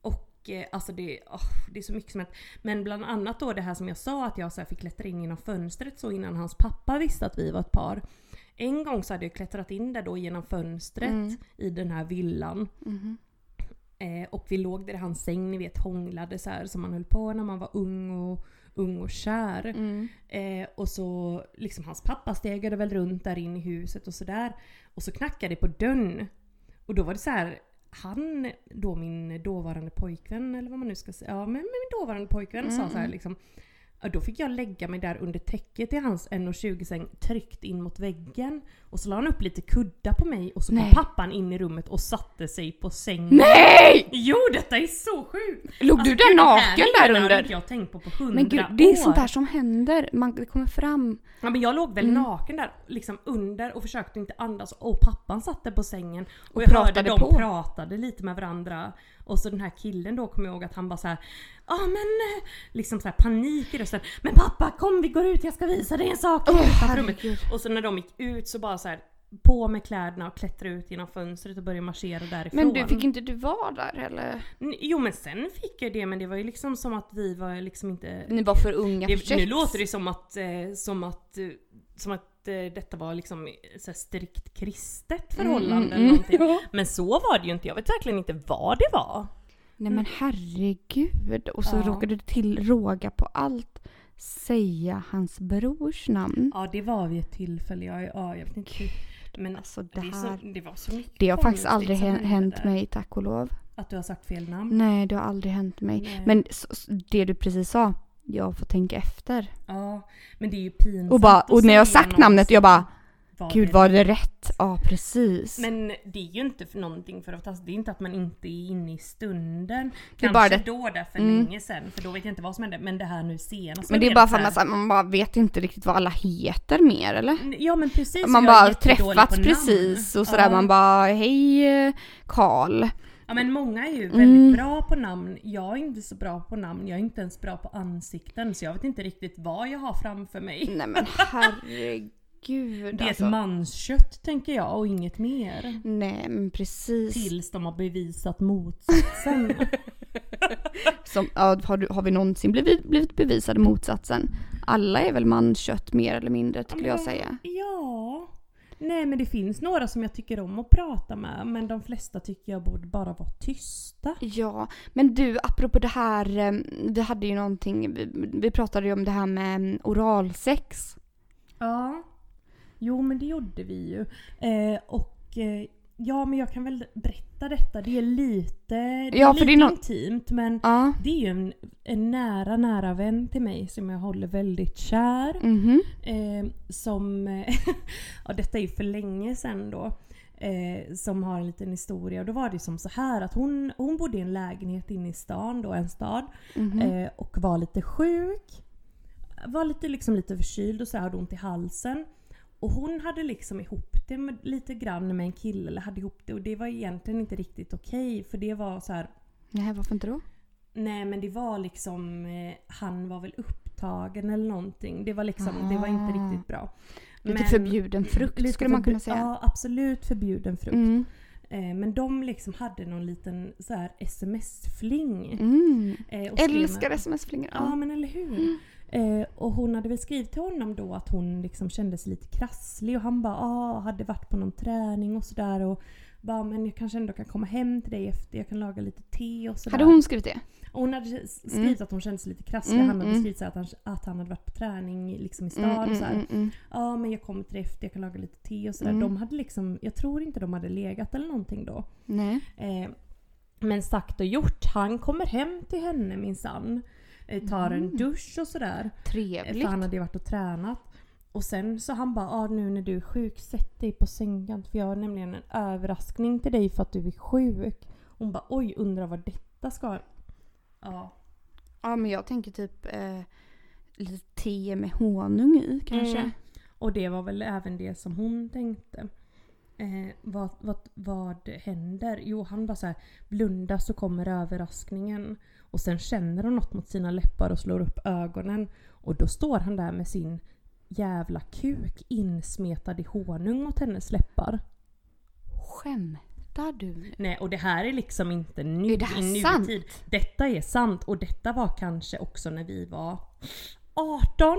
S1: Och eh, alltså det, åh, det är så mycket som hänt. Men bland annat då det här som jag sa att jag så här fick klättra in genom fönstret så innan hans pappa visste att vi var ett par. En gång så hade jag klättrat in där då genom fönstret
S2: Mm.
S1: i den här villan.
S2: Mhm.
S1: Eh, och vi låg där i hans säng, ni vet hånglade så här som man höll på när man var ung och, ung och kär.
S2: Mm.
S1: Eh, och så liksom hans pappa stegade väl runt där in i huset och sådär. Och så knackade det på dörren. Och då var det så här. Han, då min dåvarande pojkvän eller vad man nu ska säga. Ja men men min dåvarande pojkvän sa så
S2: Mm.
S1: här liksom. "Ja, Då fick jag lägga mig där under täcket i hans 1,20 säng tryckt in mot väggen. Och så la han upp lite kudda på mig och så
S2: Nej.
S1: kom pappan in i rummet och satte sig på sängen.
S2: Nej!
S1: Jo detta är så sjukt!
S2: Låg du där
S1: gud, de här
S2: naken där
S1: grejerna har
S2: under?
S1: inte jag tänkt på på hundra år.
S2: Men gud, det är sånt där som händer. Man, det kommer fram.
S1: Ja, men jag låg väl
S2: Mm.
S1: naken där liksom under och försökte inte andas och pappan satt där på sängen och, jag hörde
S2: pratade
S1: dem
S2: på.
S1: pratade lite med varandra och så den här killen då kommer jag ihåg att han bara så här, ja men eh," liksom så här panik i rösten. Men pappa kom vi går ut jag ska visa dig en sak
S2: Åh,
S1: utanför rummet.
S2: herregud.
S1: Och så när de gick ut så bara så här på med kläderna och klättra ut genom fönstret och börja marschera därifrån.
S2: Men du, fick inte du vara där eller?
S1: N- Jo men sen fick jag det men det var ju liksom som att vi var liksom inte
S2: Ni var för unga för
S1: det,
S2: sex.
S1: nu låter det som att, eh, som att, eh, som att eh, detta var liksom eh, så här strikt kristet förhållande eller någonting.
S2: Mm, Ja.
S1: Men så var det ju inte. Jag vet verkligen inte vad det var.
S2: Nej men herregud. Och så
S1: Ja.
S2: råkade du till råga på allt säga hans brors namn.
S1: Ja, det var vid ett tillfälle. Ja, ja, jag vet inte. hur- Men
S2: Alltså
S1: det,
S2: det
S1: är så,
S2: här.
S1: det var så mycket
S2: Det har faktiskt
S1: konstigt
S2: aldrig
S1: som
S2: hä-
S1: hände
S2: hänt
S1: där.
S2: mig tack och lov.
S1: Att du har sagt fel namn?
S2: Nej det har aldrig hänt mig.
S1: Nej.
S2: Men s- s- det du precis sa. Jag får tänka efter.
S1: Ja, men det är ju pinsamt
S2: Och, bara,
S1: att
S2: och när jag
S1: säga
S2: sagt namnet jag bara
S1: vad
S2: Gud
S1: det-
S2: var det rätt? Ja precis.
S1: Men det är ju inte för någonting för att alltså, det är inte att man inte är inne i stunden.
S2: Det
S1: Kanske
S2: är bara det- Mm.
S1: då där för länge sedan för då vet jag inte vad som hände. Men det här nu senast.
S2: Men
S1: var
S2: det är bara för att
S1: så
S2: man,
S1: här-
S2: så här, man bara vet inte riktigt vad alla heter mer eller?
S1: Ja men precis.
S2: Man
S1: jag är
S2: bara
S1: jättedålig på
S2: träffats
S1: namn.
S2: precis och sådär
S1: ja.
S2: man bara hej eh,
S1: [laughs]
S2: Karl.
S1: Ja men många är ju
S2: Mm.
S1: väldigt bra på namn. Jag är inte så bra på namn. Jag är inte ens bra på ansikten så jag vet inte riktigt vad jag har framför mig.
S2: Nej men herregud
S1: Det är ett
S2: Mm, alltså.
S1: manskött tänker jag och inget mer.
S2: Nej men precis.
S1: Tills de har bevisat motsatsen.
S2: Som, ja, har, du, har vi någonsin blivit, blivit bevisade motsatsen? Alla är väl mankött mer eller mindre skulle jag säga.
S1: Ja. Nej men det finns några som jag tycker om att prata med men de flesta tycker jag borde bara vara tysta.
S2: Ja, men du apropå det här, eh, vi hade ju någonting, vi, vi pratade ju om det här med eh, oralsex.
S1: Ja. Jo men det gjorde vi ju. Eh, och eh, ja men jag kan väl berätta detta. Det är lite, det är
S2: Ja, för
S1: lite
S2: det är nå-
S1: intimt men
S2: Ja.
S1: det är ju en, en nära nära vän till mig som jag håller väldigt kär.
S2: Mhm.
S1: Eh, som, [laughs] eh, ja detta är ju för länge sedan då. Eh, som har en liten historia och då var det som så här att hon, hon bodde i en lägenhet inne i stan då, en stad.
S2: Mhm.
S1: Eh, och var lite sjuk. Var lite, liksom, lite förkyld och så här, hade ont i halsen. Och hon hade liksom ihop det med, lite grann med en kille, eller hade ihop det och det var egentligen inte riktigt okej för det var så här
S2: Nej varför inte då?
S1: Nej men det var liksom, eh, han var väl upptagen eller någonting. Det var liksom, det var inte
S2: Ah.
S1: riktigt bra.
S2: Lite
S1: Men-
S2: förbjuden frukt
S1: lite
S2: skulle man
S1: förbu-
S2: kunna säga.
S1: Ja absolut förbjuden frukt.
S2: Mm.
S1: Eh, men de liksom hade någon liten så här sms-fling.
S2: Mm.
S1: Eh, och skrev med-
S2: Älskar Mm. sms-flingor.
S1: Ja
S2: Ja.
S1: men eller hur. Eh, och hon hade väl skrivit till honom då att hon liksom kände sig lite krasslig och han bara ah, hade varit på någon träning och sådär och bara men jag kanske ändå kan komma hem till dig efter, jag kan laga lite te och sådär.
S2: Hade hon skrivit det?
S1: Och hon hade s- skrivit att hon kände sig lite krasslig.
S2: Mm,
S1: han hade
S2: mm.
S1: skrivit så här att, han, att han hade varit på träning liksom i
S2: Mm,
S1: stan. och
S2: mm,
S1: så här.
S2: mm, mm.
S1: Ja men jag kommer till dig efter, jag kan laga lite te och sådär.
S2: Mm.
S1: De hade liksom, jag tror inte de hade legat eller någonting då.
S2: Nej.
S1: Eh, men sagt och gjort, han kommer hem till henne minsann. Eh, tar en
S2: Mm.
S1: dusch och sådär.
S2: Trevligt.
S1: För han hade ju varit och tränat. Och sen så han bara ah, nu när du är sjuk sätt dig på sängen för jag har nämligen en överraskning till dig för att du är sjuk. Hon bara oj undrar vad detta ska... Ja.
S2: Ja men jag tänker typ eh, lite te med honung i kanske.
S1: Mm. Och det var väl även det som hon tänkte. Eh, vad, vad, vad händer? Jo, han bara så här, blunda så kommer överraskningen. Och sen känner hon något mot sina läppar och slår upp ögonen. Och då står han där med sin jävla kuk insmetad i honung mot hennes läppar.
S2: Skämtar Skämtar du nu?
S1: Nej, och det här är liksom inte nu,
S2: Är det här
S1: i nutid.
S2: sant?
S1: Detta är sant och detta var kanske också när vi var 18.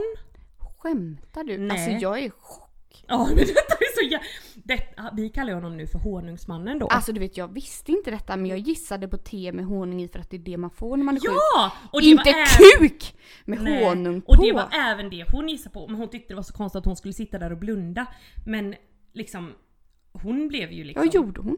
S2: Skämtar du?
S1: Nej.
S2: Alltså jag är i chock.
S1: Ja, [laughs] men detta är så jä... detta, Vi kallar honom nu för honungsmannen då.
S2: Alltså du vet jag visste inte detta men jag gissade på te med honung i för att det är det man får när man är sjuk.
S1: ja! Och
S2: inte
S1: även-
S2: kuk! Med
S1: Nej,
S2: honung på.
S1: Och det var även det hon gissade på. Men hon tyckte det var så konstigt att hon skulle sitta där och blunda. Men liksom, hon blev ju liksom...
S2: Vad gjorde hon?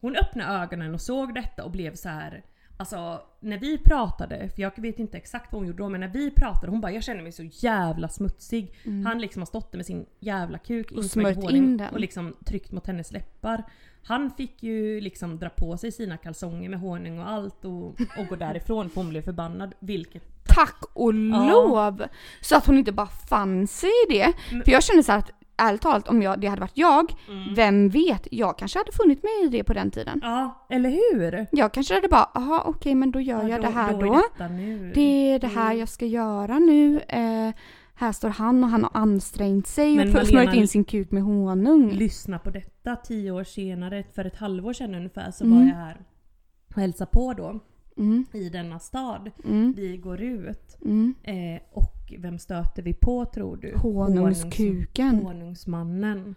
S1: Hon öppnade ögonen och såg detta och blev så här. Alltså när vi pratade, för jag vet inte exakt vad hon gjorde då, men när vi pratade hon bara “jag känner mig så jävla smutsig”. Han liksom har stått där med sin jävla kuk
S2: Mm. Och
S1: insmängd i
S2: smörjt
S1: honung
S2: in den.
S1: och liksom tryckt mot hennes läppar. Han fick ju liksom dra på sig sina kalsonger med honung och allt och, och gå därifrån för hon blev förbannad. Vilket
S2: Tack och lov! Så att hon inte bara fann sig i det. För jag känner så här att ärligt talat om jag, det hade varit jag,
S1: Mm.
S2: vem vet, jag kanske hade funnit mig i det på den tiden.
S1: Ja, eller hur?
S2: Jag kanske hade bara, aha okej men då gör jag det här då.
S1: är Mm. detta nu.
S2: Det är det här jag ska göra nu. Eh, här står han och han har ansträngt sig
S1: Men
S2: och f-
S1: Malena-
S2: smörjt in sin kuk med honung.
S1: lyssna på detta tio år senare, för ett halvår sedan ungefär, så
S2: Mm.
S1: var jag här och hälsade på då. I denna stad.
S2: Mm.
S1: Vi går ut. Eh, och vem stöter vi på tror du?
S2: Honungskuken.
S1: Honungs- Honungsmannen.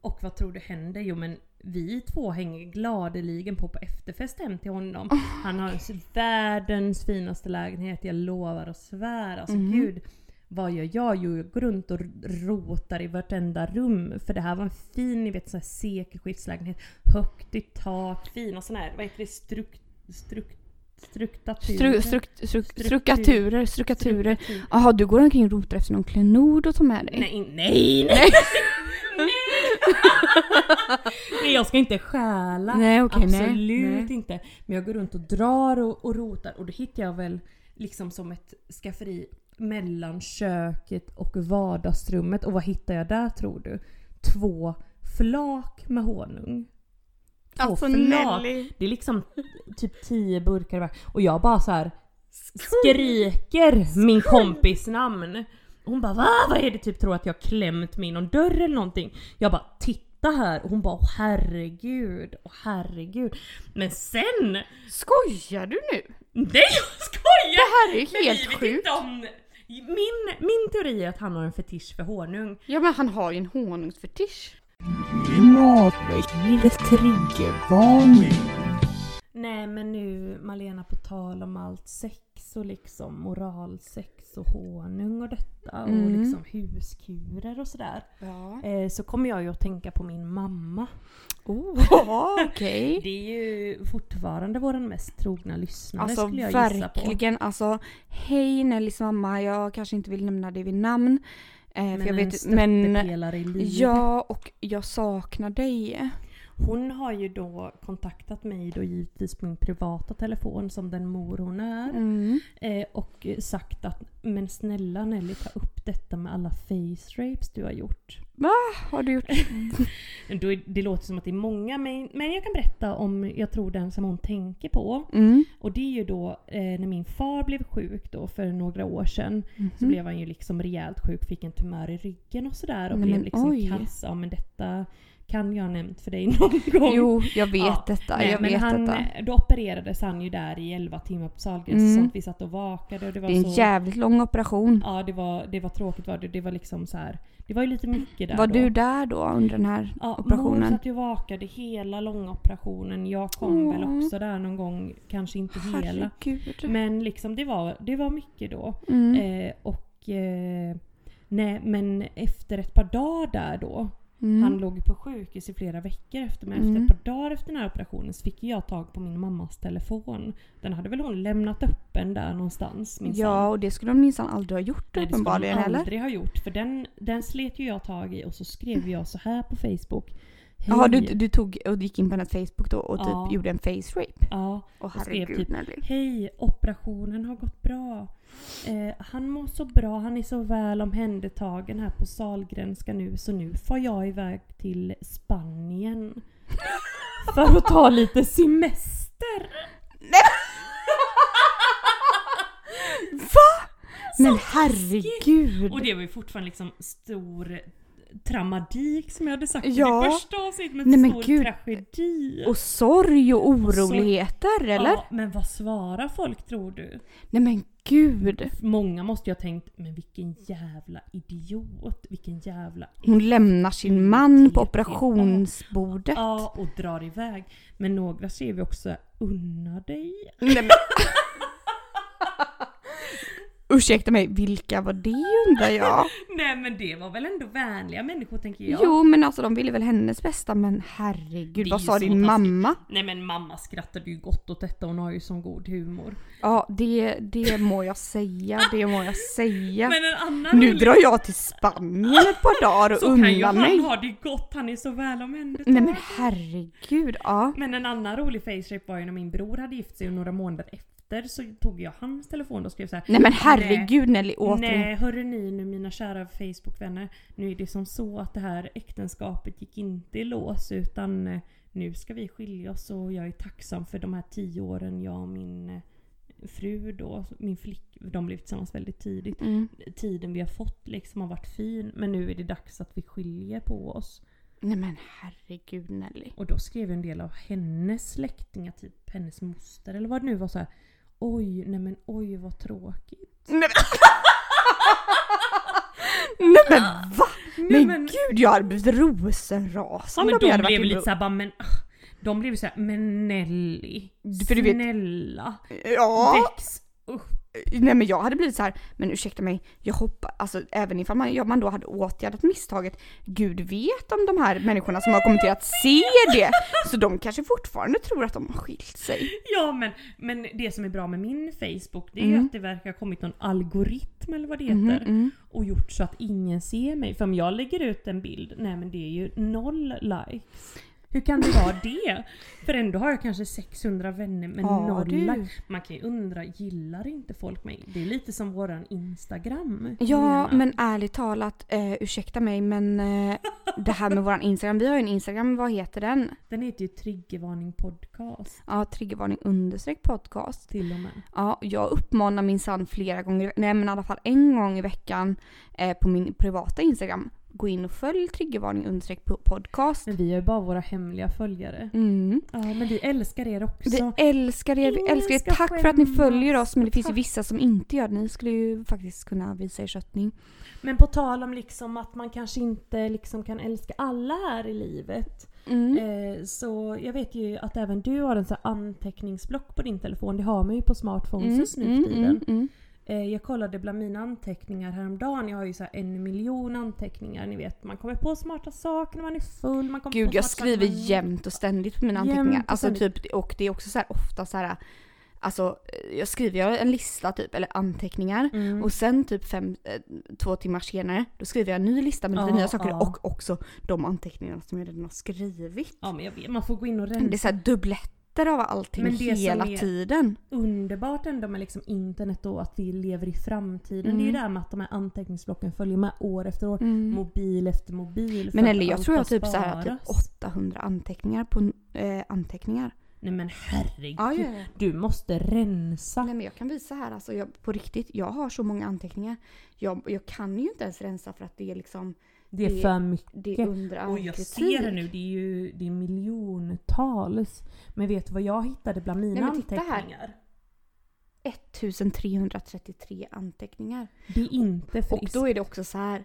S1: Och vad tror du händer? Jo men vi två hänger gladeligen på på efterfest hem till honom. Han har världens finaste lägenhet, jag lovar och svär. Alltså gud. Vad gör jag? Jo, jag går runt och rotar i vartenda rum. För det här var en fin, ni vet, sån här sekelskiftslägenhet. Högt i tak, fina sån här, vad heter det, strukt... strukt
S2: Stru,
S1: struktaturer.
S2: struk, struk,
S1: Typ. Struktur.
S2: strukaturer, strukaturer. Jaha, du går omkring och rotar efter någon klenod och tar med dig?
S1: Nej, in- nej, nej!
S2: Nej.
S1: [laughs] nej jag ska inte stjäla.
S2: Nej, okej, nej,
S1: Absolut
S2: nej.
S1: inte. Men jag går runt och drar och, och rotar och då hittar jag väl liksom som ett skafferi mellan köket och vardagsrummet. Och vad hittar jag där tror du? Två flak med honung. Två
S2: Alltså,
S1: flak.
S2: Nelly.
S1: Det är liksom typ tio burkar iväg. Och jag bara så här skriker min kompis namn. Hon bara va? Vad är det? Typ tror att jag har klämt mig i någon dörr eller någonting. Jag bara titta här och hon bara åh herregud, åh herregud. Men sen,
S2: Skojar du nu?
S1: nej jag skojar!
S2: Det här är ju
S1: Men vi
S2: helt
S1: vet
S2: sjukt.
S1: inte om- Min, min teori är att han har en fetisch för honung.
S2: Ja men han har ju en honungsfetisch.
S3: Klimatväckningens triggervarning.
S1: Nej men nu Malena på tal om allt sex och liksom moralsex och honung och detta och
S2: Mm.
S1: liksom huskurer och sådär.
S2: Ja.
S1: Eh, så kommer jag ju att tänka på min mamma.
S2: Oh, [laughs] okej.
S1: Det är ju fortfarande våran mest trogna lyssnare
S2: Alltså
S1: skulle jag gissa på.
S2: verkligen, alltså hej Nellys mamma, jag kanske inte vill nämna det vid namn. Eh, för jag
S1: en
S2: vet, men
S1: stöttepelare i livet.
S2: Ja, och jag saknar dig.
S1: Hon har ju då kontaktat mig då givetvis på min privata telefon som den mor hon är.
S2: Mm.
S1: Eh, och sagt att men snälla Nelly ta upp detta med alla face rapes du har gjort.
S2: Har du
S1: [laughs]
S2: gjort?
S1: Då är, det låter som att det är många men, men jag kan berätta om jag tror den som hon tänker på.
S2: Mm.
S1: Och det är ju då eh, när min far blev sjuk då för några år sedan.
S2: Mhm.
S1: Så blev han ju liksom rejält sjuk, fick en tumör i ryggen och sådär. Och
S2: Nej,
S1: blev
S2: men
S1: liksom
S2: oj.
S1: kass. Ja men detta kan jag ha nämnt för dig [laughs] någon gång.
S2: Jo, jag vet
S1: Ja.
S2: detta.
S1: Nej,
S2: jag
S1: men
S2: vet
S1: han, eh,
S2: detta.
S1: Då opererades han ju där i 11 timmar på Sahlgrenska
S2: Mm.
S1: sånt. Vi satt och vakade och det var
S2: Det är en
S1: så...
S2: jävligt lång operation.
S1: Ja det var, det var tråkigt var det. Det var liksom så här. Det var ju lite mycket där
S2: Var
S1: då.
S2: du där då under den här
S1: Ja, mor
S2: operationen?
S1: satt ju och vakade hela långa operationen. Jag kom
S2: Åh.
S1: väl också där någon gång, kanske inte hela.
S2: Herregud.
S1: Men liksom det var, det var mycket då.
S2: Mm.
S1: Eh, och eh, nej men efter ett par dagar där då.
S2: Mm.
S1: Han låg på sjukhus i flera veckor efter men
S2: Mm.
S1: efter ett par dagar efter den här operationen så fick jag tag på min mammas telefon. Den hade väl hon lämnat öppen där någonstans minsann.
S2: Ja, och det skulle de minsann aldrig ha gjort
S1: Nej, det skulle
S2: uppenbarligen
S1: hon
S2: eller?
S1: aldrig ha gjort för den, den slet ju jag tag i och så skrev jag så här på Facebook.
S2: Jaha, du,
S1: "Hej."
S2: du tog och gick in på hennes Facebook då och typ
S1: Ja.
S2: gjorde en face rape?
S1: Ja,
S2: Åh
S1: Jag skrev
S2: herregud
S1: typ-
S2: Nelly.
S1: Hej, operationen har gått bra. Eh, han mår så bra, han är så väl omhändertagen här på Sahlgrenska nu så nu får jag iväg till
S2: [laughs]
S1: Spanien. För att ta lite semester.
S2: Men herregud!
S1: Och det var ju fortfarande liksom stor traumatik som jag hade sagt
S2: Ja.
S1: i det första avsnittet. Men
S2: Nej, men
S1: stor
S2: gud.
S1: tragedi.
S2: Och sorg och oroligheter eller?
S1: Ja, men vad svarar folk tror du?
S2: Nej men gud.
S1: Många måste ju ha tänkt, men vilken jävla idiot. Vilken jävla...
S2: Hon lämnar sin man på operationsbordet.
S1: Ja, och drar iväg. Men några ser vi också, unna dig.
S2: Nej, men... [laughs] Ursäkta mig, vilka var det undrar jag?
S1: Nej men det var väl ändå vänliga människor tänker jag.
S2: Jo men alltså de ville väl hennes bästa men herregud
S1: Det är
S2: vad
S1: ju
S2: sa
S1: så
S2: din
S1: taskigt.
S2: mamma?
S1: Nej men mamma skrattade ju gott åt detta, hon har ju sån god humor.
S2: Ja det, det må jag säga, det må jag säga.
S1: Men en annan
S2: Nu
S1: rolig-
S2: drar jag till Spanien ett par dagar och
S1: Så kan ju
S2: unnar
S1: han
S2: mig.
S1: ha det gott, han är så väl omhändertagen.
S2: Nej men herregud, ja.
S1: Men en annan rolig face-rape var ju när min bror hade gift sig och några månader efter så tog jag hans telefon och skrev så här.
S2: Nej men herregud Nelly återigen.
S1: Nej hörru ni nu mina kära Facebookvänner. Nu är det som så att det här äktenskapet gick inte i lås utan eh, nu ska vi skilja oss och jag är tacksam för de här tio åren jag och min eh, fru då, min flick, de blev tillsammans väldigt tidigt.
S2: Mm.
S1: Tiden vi har fått liksom har varit fin men nu är det dags att vi skiljer på oss.
S2: Nej men herregud Nelly.
S1: Och då skrev en del av hennes släktingar, typ hennes moster eller vad det nu var så här. Oj, nej men oj vad tråkigt.
S2: Nej men va?
S1: Nej,
S2: men,
S1: men-
S2: gud jag hade blivit rosenrasande
S1: men
S2: om jag
S1: de
S2: hade varit
S1: blev
S2: din
S1: lite
S2: bror.
S1: såhär bara men ah. De blev såhär men Nelly,
S2: För du vet-
S1: snälla,
S2: Ja,
S1: väx upp. [laughs]
S2: nej men jag hade blivit så här. men ursäkta mig, jag hoppas, alltså även ifall man, ja, man då hade åtgärdat misstaget, gud vet om de här människorna som har kommenterat ser det, så de kanske fortfarande tror att de har skilt sig.
S1: Ja men, men det som är bra med min Facebook det är
S2: Mm.
S1: ju att det verkar ha kommit någon algoritm eller vad det heter.
S2: Mhm.
S1: Och gjort så att ingen ser mig. För om jag lägger ut en bild, nej men det är ju noll likes. Hur kan det vara
S2: [laughs]
S1: det? För ändå har jag kanske 600 vänner men
S2: Ja,
S1: noll
S2: du.
S1: likes. Man kan ju undra, gillar inte folk mig? Det är lite som våran Instagram.
S2: Ja
S1: menar.
S2: men ärligt talat, eh, ursäkta mig men eh, det här med våran Instagram, vi har ju en Instagram, vad heter den?
S1: Den heter ju Triggervarning podcast
S2: Ja, triggervarning understreck podcast.
S1: till och med.
S2: Ja, jag uppmanar min son flera gånger, nej men i alla fall en gång i veckan eh, på min privata Instagram. Gå in och följ triggervarning understreck po- podcast.
S1: Men vi är ju bara våra hemliga följare.
S2: Mm.
S1: Ja men vi älskar er också.
S2: Vi älskar er, vi
S1: Ingen
S2: älskar
S1: ska
S2: er. Tack för att ni
S1: skämmas.
S2: följer oss men det finns ju
S1: Tack.
S2: vissa som inte gör det. Ni skulle ju faktiskt kunna visa er köttning.
S1: Men på tal om liksom att man kanske inte liksom kan älska alla här i livet.
S2: Mm.
S1: Eh, så jag vet ju att även du har en sån här anteckningsblock på din telefon. Det har man ju på smartphones
S2: Mm,
S1: just nu
S2: mm,
S1: för tiden.
S2: mm, mm.
S1: Eh, jag kollade bland mina anteckningar häromdagen. Jag har ju så här en miljon anteckningar. Ni vet, man kommer på smarta saker när man är full. Man kommer
S2: Gud
S1: på
S2: jag
S1: smarta saker
S2: skriver
S1: när man-
S2: jämt och ständigt på mina
S1: Jämt och
S2: anteckningar. Alltså
S1: ständigt.
S2: typ, och det är också så här ofta så här. Alltså jag skriver jag en lista typ, eller anteckningar.
S1: Mm.
S2: Och sen typ fem, eh, två timmar senare, då skriver jag en ny lista med lite
S1: Ja,
S2: nya saker
S1: ja.
S2: och också de anteckningarna som jag redan har skrivit.
S1: Ja men jag vet, man får gå in och rensa.
S2: Det är så här dubbletter av allting
S1: Men det som
S2: hela
S1: är-
S2: tiden.
S1: underbart ändå med liksom internet och att vi lever i framtiden.
S2: Mm.
S1: Det är ju det här med att de här anteckningsblocken följer med år efter år. Mobil efter mobil. för
S2: Men
S1: Mm. att
S2: eller jag
S1: allt
S2: tror jag
S1: har
S2: har typ så här typ
S1: sparats.
S2: 800 anteckningar på eh, anteckningar.
S1: Nej men herregud.
S2: Ja, ja, ja.
S1: Du måste rensa.
S2: Nej men jag kan visa här alltså, jag, på riktigt, jag har så många anteckningar. Jag, jag kan ju inte ens rensa för att det är liksom,
S1: det är
S2: det-
S1: för mycket.
S2: det är under all
S1: Och jag
S2: kritik.
S1: ser det nu, det är ju det är miljontals. Men vet du vad jag hittade bland mina
S2: Nej, men titta här.
S1: anteckningar?
S2: 1333 anteckningar.
S1: Det är inte
S2: Och
S1: friskt.
S2: då är det också så här.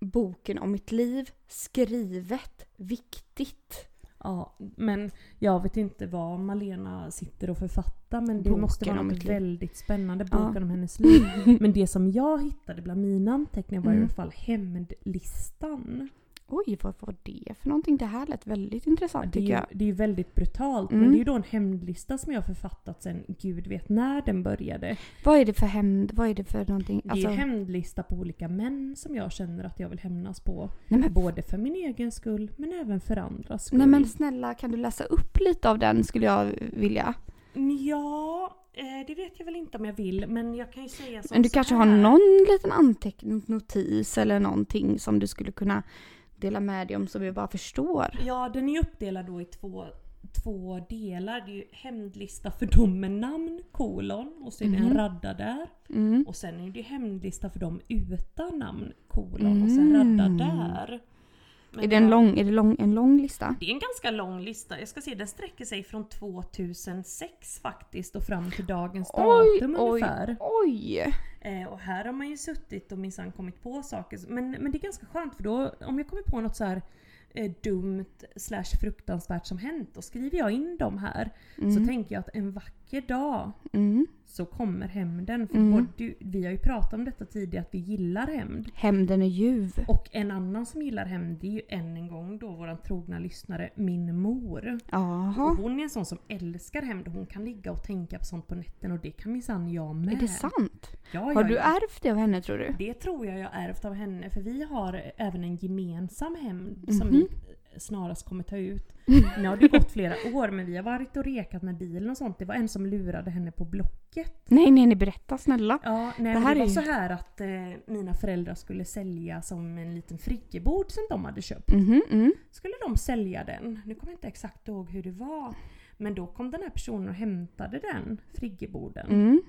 S2: Boken om mitt liv, skrivet, viktigt.
S1: Ja, men jag vet inte vad Malena sitter och författar men det
S2: Boken
S1: måste vara
S2: om
S1: något
S2: mitt liv.
S1: väldigt spännande.
S2: Ja.
S1: Boken om
S2: [laughs]
S1: hennes liv. Men det som jag hittade bland mina anteckningar var i
S2: Mm.
S1: alla fall hämndlistan.
S2: Oj, vad var det för någonting? Det här lät väldigt intressant
S1: Det är,
S2: tycker
S1: ju,
S2: jag.
S1: det är ju väldigt brutalt men
S2: Mm.
S1: det är ju då en hämndlista som jag har författat sen gud vet när den började.
S2: Vad är det för hämnd? Vad är det för någonting?
S1: Det
S2: Alltså,
S1: är hämndlista på olika män som jag känner att jag vill hämnas på.
S2: nej, men,
S1: Både för min egen skull men även för andras skull.
S2: nej men snälla, kan du läsa upp lite av den skulle jag vilja.
S1: Ja, eh, det vet jag väl inte om jag vill men jag kan ju säga som
S2: Men du
S1: så
S2: kanske har
S1: här.
S2: någon liten anteckning, notis eller någonting som du skulle kunna dela med dig om så vi bara förstår.
S1: Ja, den är uppdelad då i två, två delar. Det är ju hämndlista för dem med namn, kolon, och så är det en radda där.
S2: Mhm. Mm.
S1: Och sen är det ju hämndlista för dem utan namn, kolon, och sen radda där. Men
S2: Mm. Är det en lång, är det lång, en lång lista?
S1: Det är en ganska lång lista. Jag ska se, den sträcker sig från 2006 faktiskt och fram till dagens datum ungefär.
S2: oj!
S1: Eh, och här har man ju suttit och minsann kommit på saker. Men, men det är ganska skönt för då, om jag kommer på något så här eh, dumt slash fruktansvärt som hänt, då skriver jag in dem här. Så tänker jag att en vacker dag
S2: Mm.
S1: så kommer hämnden. För
S2: Mm.
S1: både du, vi har ju pratat om detta tidigare, att vi gillar hämnd.
S2: Hämnden är ljuv.
S1: Och en annan som gillar hämnd, det är ju än en gång då våran trogna lyssnare, min mor. Och
S2: Jaha,
S1: hon är en sån som älskar hämnd och hon kan ligga och tänka på sånt på nätten och det kan minsann jag med.
S2: är det sant?
S1: Ja,
S2: Har
S1: ja,
S2: du
S1: ja.
S2: ärvt det av henne tror du?
S1: Det tror jag jag ärvt av henne för vi har även en gemensam hämnd
S2: Mhm.
S1: som vi snarast kommer ta ut. Nu har det gått flera år men vi har varit och rekat med bilen och sånt. Det var en som lurade henne på Blocket.
S2: Nej, nej, nej, berätta snälla.
S1: Ja, nej, det,
S2: här är
S1: det var
S2: ju-
S1: så här att eh, mina föräldrar skulle sälja som en liten friggebod som de hade köpt.
S2: Mhm, mm.
S1: Skulle de sälja den? Nu kommer jag inte exakt ihåg hur det var. Men då kom den här personen och hämtade den friggeboden.
S2: Mm.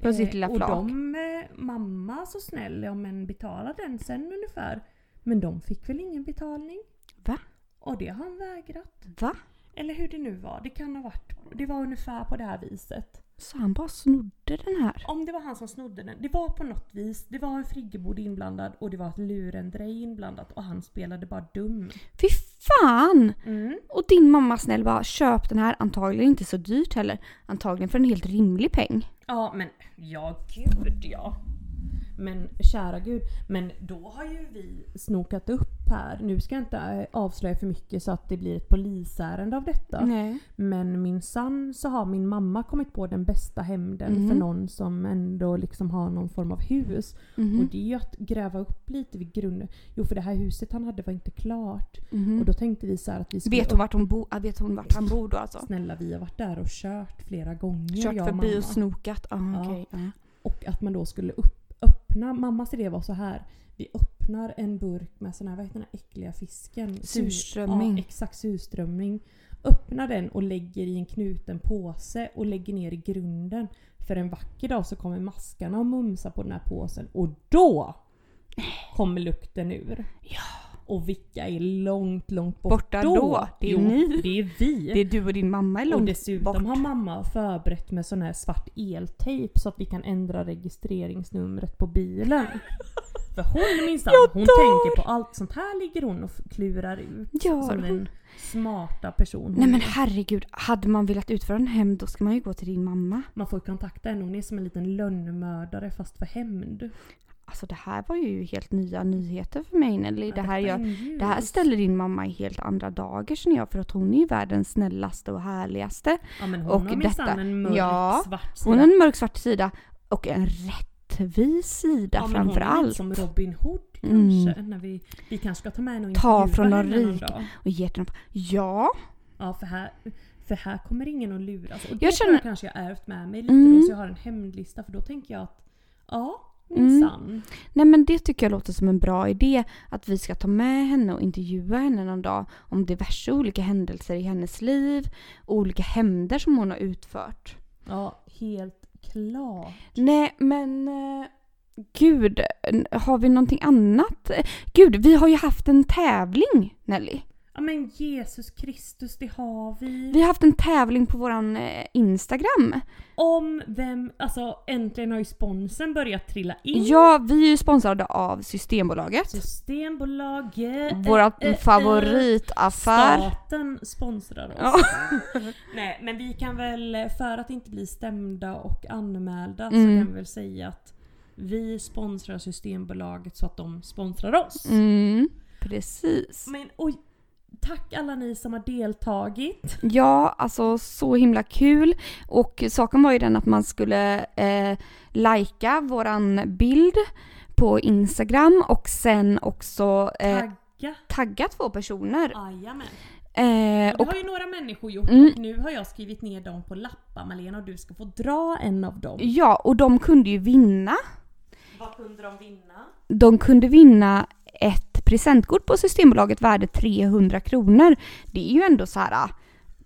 S2: På sitt lilla
S1: Eh, Och
S2: flak.
S1: de, eh, mamma så snäll, ja men betala den sen ungefär. Men de fick väl ingen betalning?
S2: Va?
S1: Och det har han vägrat.
S2: Va?
S1: Eller hur det nu var, det kan ha varit, det var ungefär på det här viset.
S2: Så han bara snodde den här?
S1: Om det var han som snodde den, det var på något vis, det var en friggebod inblandad och det var ett lurendrej inblandat och han spelade bara dum.
S2: Fy fan!
S1: Mm.
S2: Och din mamma snäll bara köp den här, antagligen inte så dyrt heller. Antagligen för en helt rimlig peng.
S1: Ja men, ja gud ja. Men kära gud, men då har ju vi snokat upp här. Nu ska jag inte eh, avslöja för mycket så att det blir ett polisärende av detta.
S2: Nej.
S1: Men min sann så har min mamma kommit på den bästa hämnden för
S2: Mhm.
S1: någon som ändå liksom har någon form av hus.
S2: Mhm.
S1: Och det är ju att gräva upp lite vid grunden. Jo för det här huset han hade var inte klart. Och då tänkte vi så här att vi skulle
S2: Mhm. Vet hon vart, hon bo, äh, vet hon vart han bor då alltså?
S1: snälla vi har varit där och kört flera gånger
S2: Kört
S1: jag och
S2: förbi
S1: mamma.
S2: och snokat? Ah,
S1: Ja.
S2: okej. ja.
S1: Och att man då skulle upp, öppna, mammas idé var så här. Vi öppnar en burk med sån här, vad heter den här äckliga fisken?
S2: Surströmming.
S1: Ja, exakt, surströmming. Öppnar den och lägger i en knuten påse och lägger ner i grunden. För en vacker dag så kommer maskarna och mumsa på den här påsen och då kommer lukten ur. Och vilka är långt, långt bort
S2: Borta då? Det är
S1: jo,
S2: ni.
S1: Det är vi.
S2: Det är du och din mamma är långt
S1: Och dessutom
S2: bort.
S1: har mamma förberett med sån här svart eltejp så att vi kan ändra registreringsnumret på
S2: [laughs]
S1: bilen. För hon minsann, hon tänker på allt sånt här ligger hon och klurar ut.
S2: Gör
S1: som
S2: hon?
S1: den smarta person hon
S2: Nej men
S1: är.
S2: herregud, hade man velat utföra en hämnd då ska man ju gå till din mamma.
S1: Man får ju kontakta henne, hon är som en liten lönnmördare fast för hämnd.
S2: Alltså det här var ju helt nya nyheter för mig Nelly. Det här,
S1: Detta är
S2: jag,
S1: en ljus.
S2: det här ställer din mamma i helt andra dagar känner jag för att hon är ju världens snällaste och härligaste.
S1: ja, men hon
S2: och
S1: har minsann
S2: detta-
S1: en mörk
S2: ja,
S1: svart sida.
S2: Hon har en mörk svart sida och en rättvis sida
S1: ja, men hon
S2: framför
S1: är liksom lite
S2: allt. Mm.
S1: som Robin Hood kanske. När vi, vi kanske ska ta med henne och
S2: Ta
S1: intervjua
S2: från de
S1: henne någon
S2: rika.
S1: dag.
S2: Och ger till dem. Ja,
S1: Ja, för här, för här kommer ingen att luras. Och det
S2: Jag
S1: jag
S2: känner-
S1: känner... kanske jag ärvt med mig lite
S2: Mm.
S1: då, så jag har en hämndlista. För då tänker jag att, ja, minsann.
S2: nej men det tycker jag låter som en bra idé att vi ska ta med henne och intervjua henne någon dag om diverse olika händelser i hennes liv och olika hämnder som hon har utfört.
S1: Ja, helt klart.
S2: Nej men eh, gud, n- har vi någonting annat? Eh, Gud, vi har ju haft en tävling Nelly.
S1: Ja men Jesus Kristus, det har vi.
S2: Vi har haft en tävling på våran eh, Instagram.
S1: Om vem, alltså äntligen har ju sponsen börjat trilla in.
S2: Ja, vi är ju sponsrade av Systembolaget.
S1: Systembolaget.
S2: Vårat
S1: eh, eh,
S2: favoritaffär.
S1: Staten sponsrar oss.
S2: [laughs] Ja.
S1: Nej men vi kan väl, för att inte bli stämda och anmälda
S2: Mm.
S1: så kan vi väl säga att vi sponsrar Systembolaget så att de sponsrar oss.
S2: Mm, precis.
S1: Men oj, tack alla ni som har deltagit.
S2: Ja, alltså så himla kul. Och saken var ju den att man skulle eh, lajka våran bild på Instagram och sen också eh,
S1: Tagga.
S2: tagga två personer.
S1: Jajamän.
S2: Eh,
S1: Det
S2: och
S1: har ju några människor gjort
S2: Mm.
S1: och nu har jag skrivit ner dem på lappar Malena och du ska få dra en av dem.
S2: Ja, och de kunde ju vinna.
S1: Vad kunde de vinna?
S2: De kunde vinna ett presentkort på Systembolaget värde 300 kronor. Det är ju ändå så här ah,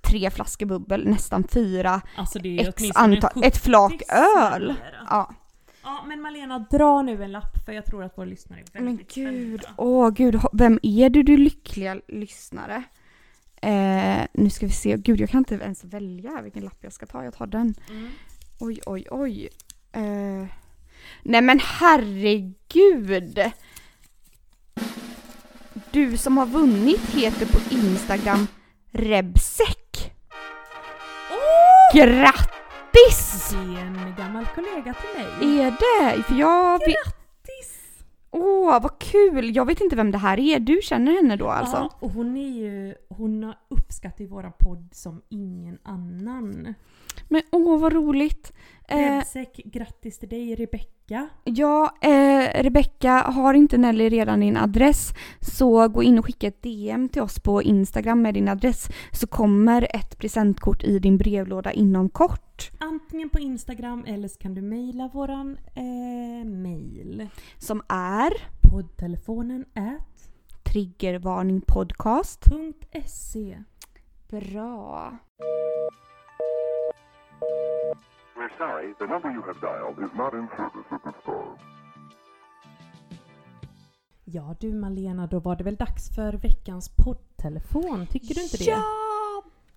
S2: tre flaskor bubbel, nästan fyra,
S1: Alltså det är ju
S2: x
S1: åtminstone
S2: antal, ett flak
S1: 70
S2: öl.
S1: servera.
S2: Ja.
S1: Ja Ja men Malena, dra nu en lapp för jag tror att våra lyssnare är
S2: Men
S1: väldigt
S2: gud,
S1: spända.
S2: åh gud, ho- vem är du du lyckliga lyssnare? Eh, nu ska vi se, gud jag kan inte ens välja vilken lapp jag ska ta, jag tar den.
S1: Mm.
S2: Oj, oj, oj. Eh, nej men herregud! Du som har vunnit heter på Instagram Rebsek. Grattis!
S1: Det är en gammal kollega till mig.
S2: Är det? För jag vet...
S1: Grattis!
S2: Åh, vad kul! Jag vet inte vem det här är. Du känner henne då alltså?
S1: Ja, och hon är ju, hon har uppskattat i våran podd som ingen
S2: Eh.
S1: annan.
S2: Men åh, vad roligt! Eh,
S1: Rebsek, grattis till dig Rebecka.
S2: ja, eh, Rebecka, har inte Nelly redan din adress så gå in och skicka ett DM till oss på Instagram med din adress så kommer ett presentkort i din brevlåda inom kort.
S1: Antingen på Instagram eller så kan du mejla våran eh, mejl.
S2: Som är
S1: Poddtelefonen at
S2: Triggervarning podcast.
S1: .se.
S2: Bra!
S4: We're sorry, the number you have dialed is not in service at this time.
S1: Ja du Malena, då var det väl dags för veckans poddtelefon. Tycker du inte det?
S2: Ja!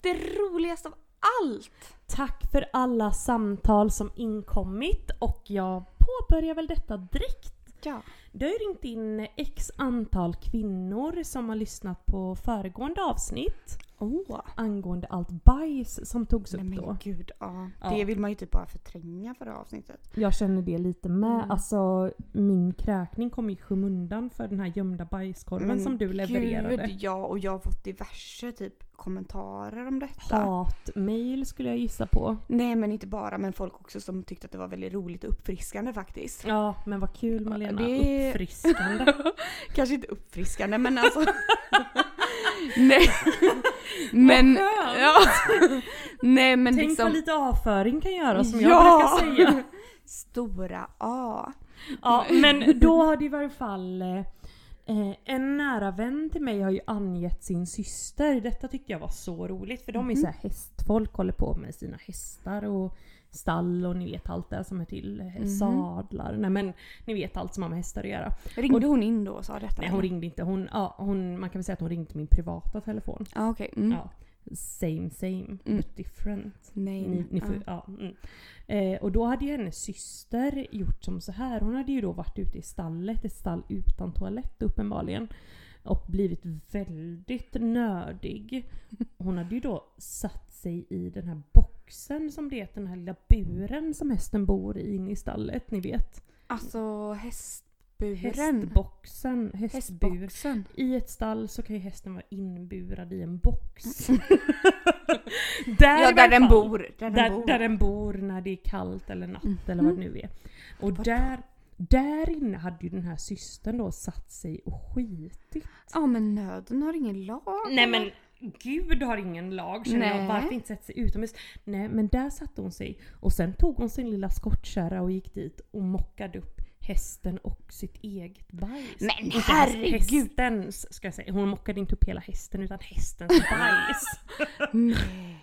S2: Det roligaste av allt!
S1: Tack för alla samtal som inkommit och jag påbörjar väl detta direkt.
S2: Ja.
S1: Det har ju ringt in x antal kvinnor som har lyssnat på föregående avsnitt
S2: Åh!
S1: angående allt bajs som togs upp
S2: Nej
S1: då.
S2: men gud, ja.
S1: Ja.
S2: Det vill man ju typ bara förtränga förra avsnittet.
S1: Jag känner det lite med.
S2: Mm.
S1: Alltså min kräkning kom i skymundan för den här gömda bajskorven
S2: Men
S1: som du levererade.
S2: Gud ja, och jag har fått diverse typ kommentarer om detta.
S1: Hatmail skulle jag gissa på.
S2: Nej men inte bara, men folk också som tyckte att det var väldigt roligt och uppfriskande
S1: [laughs]
S2: faktiskt.
S1: Ja men vad kul Malena.
S2: det-
S1: [laughs] Uppfriskande.
S2: Kanske inte uppfriskande
S1: [laughs]
S2: men alltså. Nej. Men,
S1: skönt.
S2: ja. Nej men
S1: Tänk
S2: liksom.
S1: vad lite avföring kan göra som
S2: Ja.
S1: jag brukar [laughs] säga.
S2: Stora A.
S1: Ja, men då har det i varje fall... Eh, en nära vän till mig har ju angett sin syster. Detta tyckte jag var så roligt för de är så här hästfolk, håller på med sina hästar och stall och ni vet allt det här som är till eh, sadlar. Nej men ni vet allt som har med hästar att göra.
S2: Ringde hon in då och sa detta?
S1: Nej hon ringde inte, hon, ja, hon, man kan väl säga att hon ringde till min privata telefon.
S2: Ja okej. Mm.
S1: Ja. Same same, but different.
S2: Nej.
S1: Ni, ni får,
S2: ja.
S1: ja. mm. eh, och då hade ju hennes syster gjort som så här. Hon hade ju då varit ute i stallet, ett stall utan toalett uppenbarligen. Och blivit väldigt nördig. Hon hade ju då satt sig i den här boxen som det heter, den här lilla buren som hästen bor i inne i stallet, ni vet.
S2: Alltså hästburen.
S1: Hästboxen, hästbur.
S2: Hästboxen.
S1: I ett stall så kan ju hästen vara inburad i en box. [laughs] där
S2: Ja där
S1: i varje
S2: den
S1: fall.
S2: bor. Där den
S1: Där,
S2: bor.
S1: där den bor när det är kallt eller natt eller vad det nu är. Och där, där inne hade ju den här systern då satt sig och skitit.
S2: Ja men nöden har ingen lag.
S1: Nej men gud har ingen lag känner jag.
S2: Nej.
S1: Varför inte sätta sig utomhus? Nej men där satte hon sig och sen tog hon sin lilla skottkärra och gick dit och mockade upp hästen och sitt eget bajs.
S2: Men
S1: Inte
S2: herregud.
S1: Hästens ska jag säga. Hon mockade inte upp hela hästen utan hästens
S2: [laughs]
S1: bajs.
S2: Nej.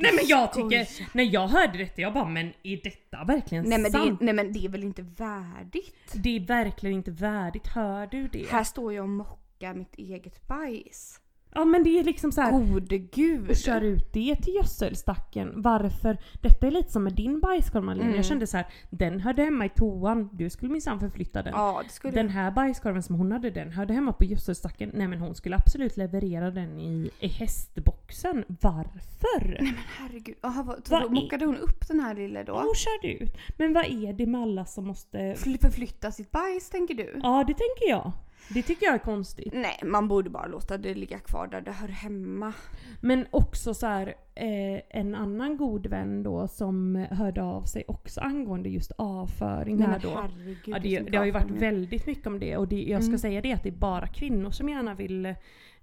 S1: Nej men jag tycker,
S2: Skoja.
S1: när jag hörde detta jag bara men är detta verkligen
S2: Nej men, det
S1: sant?
S2: är, nej men det är väl inte värdigt?
S1: Det är verkligen inte värdigt, hör du det?
S2: Här står jag och mockar mitt eget bajs.
S1: Ja men det är liksom så här.
S2: Gode gud!
S1: Kör ut det till gödselstacken. Varför? Detta är lite som med din bajskorv Malin.
S2: Mm.
S1: Jag kände så här, den hörde hemma i toan. Du skulle minsann förflytta den.
S2: Ja det skulle
S1: Den här bajskorven som hon hade, den hörde hemma på gödselstacken. Nej men hon skulle absolut leverera den i, i hästboxen. Varför?
S2: Men herregud, Aha, vad,
S1: Vad
S2: då
S1: är-
S2: mockade hon upp den här lille då?
S1: Hon körde ut. Men vad är det med alla som måste...
S2: Skulle förflytta sitt bajs tänker du?
S1: Ja det tänker jag. Det tycker jag är konstigt.
S2: Nej, man borde bara låta det ligga kvar där det hör hemma.
S1: Men också så här, eh, en annan god vän då som hörde av sig också angående just avföring
S2: Nej
S1: här
S2: men
S1: då.
S2: herregud.
S1: Ja,
S2: det är
S1: det,
S2: så
S1: det har ju varit
S2: galet.
S1: väldigt mycket om det och det, jag ska
S2: Mm.
S1: säga det att det är bara kvinnor som gärna vill eh,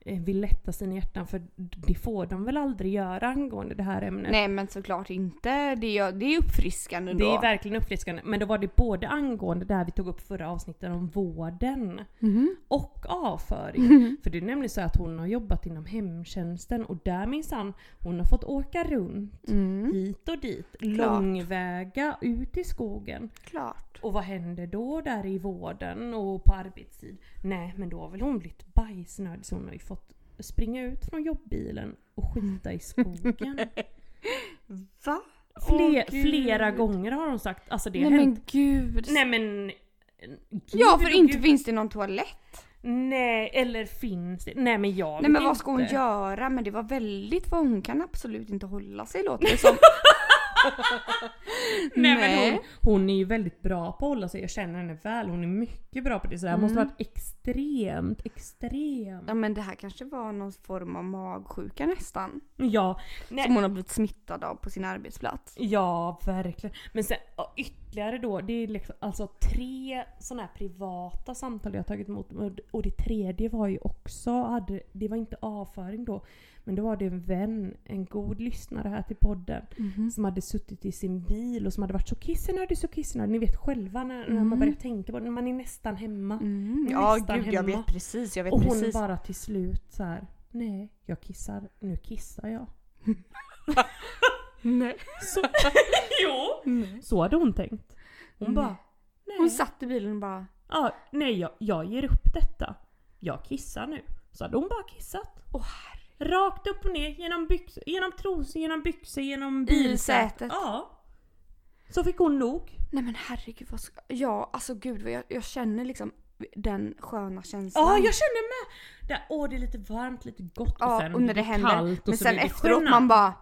S1: eh, vill lätta sina hjärtan för det får de väl aldrig göra angående det här ämnet.
S2: Nej men såklart inte. Det är, det är uppfriskande
S1: Det
S2: då.
S1: är verkligen uppfriskande. Men då var det både angående det här vi tog upp förra avsnittet om vården
S2: Mhm.
S1: och avföring. För det är nämligen så att hon har jobbat inom hemtjänsten och där minsann, hon har fått åka runt
S2: Mm.
S1: hit och dit. Långväga ut i skogen.
S2: Klart.
S1: Och vad händer då där i vården och på arbetstid? Nej men då har väl hon blivit bajsnödig så hon har ju fått springa ut från jobbbilen och skita i skogen.
S2: Va?
S1: Fle-
S2: [laughs] Åh, gud.
S1: flera gånger har hon sagt, alltså det har
S2: Nej
S1: hänt
S2: men gud.
S1: Nej men... Gud,
S2: ja för
S1: och
S2: inte
S1: gud.
S2: finns det någon toalett.
S1: Nej, eller finns det? Nej men jag
S2: Nej
S1: vet
S2: men vad ska hon
S1: inte.
S2: göra? Men det var väldigt vad hon kan absolut inte hålla sig låter det som.
S1: [laughs] Nej, men
S2: Nej.
S1: hon, hon är ju väldigt bra på att hålla sig, jag känner henne väl. Hon är mycket bra på det. Så det här måste
S2: Mm.
S1: ha varit extremt, extremt.
S2: Ja men det här kanske var någon form av magsjuka nästan.
S1: Ja, nej,
S2: Som hon har blivit smittad av på sin arbetsplats.
S1: ja verkligen. Men sen ja, ytterligare då, det är liksom, alltså tre sådana här privata samtal jag har tagit emot. Och- Och det tredje var ju också, hade, det var inte avföring då, men då var det en vän, en god lyssnare här till podden.
S2: Mhm.
S1: som hade suttit i sin bil och som hade varit så kissnödig, så kissnödig. Ni vet själva när, när man börjar tänka på det, när man är nästan hemma.
S2: Mhm. Mm.
S1: Hon är
S2: Ja
S1: nästan
S2: gud jag
S1: hemma.
S2: vet precis, jag vet
S1: Och hon
S2: precis.
S1: bara till slut så här. nej jag kissar, nu kissar [laughs] jag.
S2: Nej.
S1: Så, [laughs] jo! Så hade hon tänkt. Hon bara, nej.
S2: Hon satt i bilen och bara
S1: ja, nej jag, jag ger upp detta. Jag kissar nu. Så hade hon bara kissat.
S2: Åh,
S1: Rakt upp och ner, genom, byx, genom trosor, genom byxor, genom
S2: sätet.
S1: Ja. Så fick hon nog.
S2: Nej men herregud vad ska... Ja alltså gud vad jag, jag känner liksom den sköna känslan.
S1: Ja, jag känner med! Där, åh, det är lite varmt, lite gott och
S2: Ja
S1: sen
S2: och när det
S1: blir
S2: händer.
S1: kallt och
S2: men
S1: så
S2: sen
S1: blir det
S2: efteråt
S1: skönt.
S2: man bara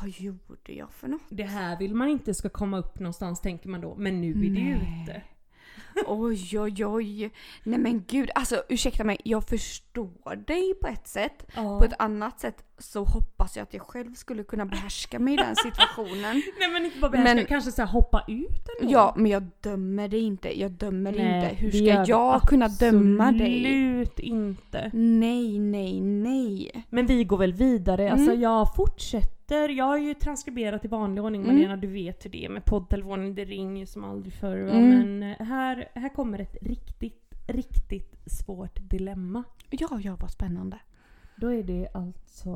S2: Vad gjorde jag för något? [laughs]
S1: Det här vill man inte ska komma upp någonstans tänker man då, men nu är det ute.
S2: Oj oj oj. Nej men gud alltså ursäkta mig jag förstår dig på ett sätt.
S1: Ja.
S2: På ett annat sätt så hoppas jag att jag själv skulle kunna behärska mig i den situationen.
S1: Nej men inte bara behärska,
S2: Men-
S1: kanske så här hoppa ut ändå.
S2: Ja men jag dömer dig inte, jag dömer dig
S1: Nej,
S2: inte. Hur
S1: det
S2: ska
S1: gör
S2: jag
S1: vi
S2: kunna döma dig?
S1: Absolut inte.
S2: Nej nej nej.
S1: Men vi går väl vidare,
S2: Mm.
S1: alltså jag fortsätter. Jag har ju transkriberat i vanlig ordning
S2: Mm.
S1: Malena, du vet hur det är med poddtelefonen, det ringer som aldrig förr. va?
S2: Mm.
S1: Men eh, här, här kommer ett riktigt, riktigt svårt dilemma.
S2: Ja ja vad spännande.
S1: Då är det alltså,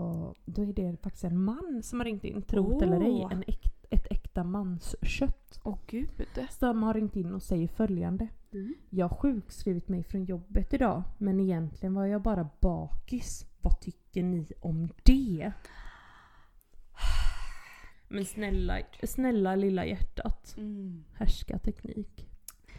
S1: då är det faktiskt en man som har ringt in, trot eller ej,
S2: Åh.
S1: en äkt, ett äkta manskött.
S2: Åh gud.
S1: Som har ringt in och säger följande.
S2: Mm.
S1: Jag har sjukskrivit mig från jobbet idag, men egentligen var jag bara bakis. Vad tycker ni om det?
S2: [sighs]
S1: Men snälla, snälla lilla hjärtat.
S2: Mm.
S1: Härska teknik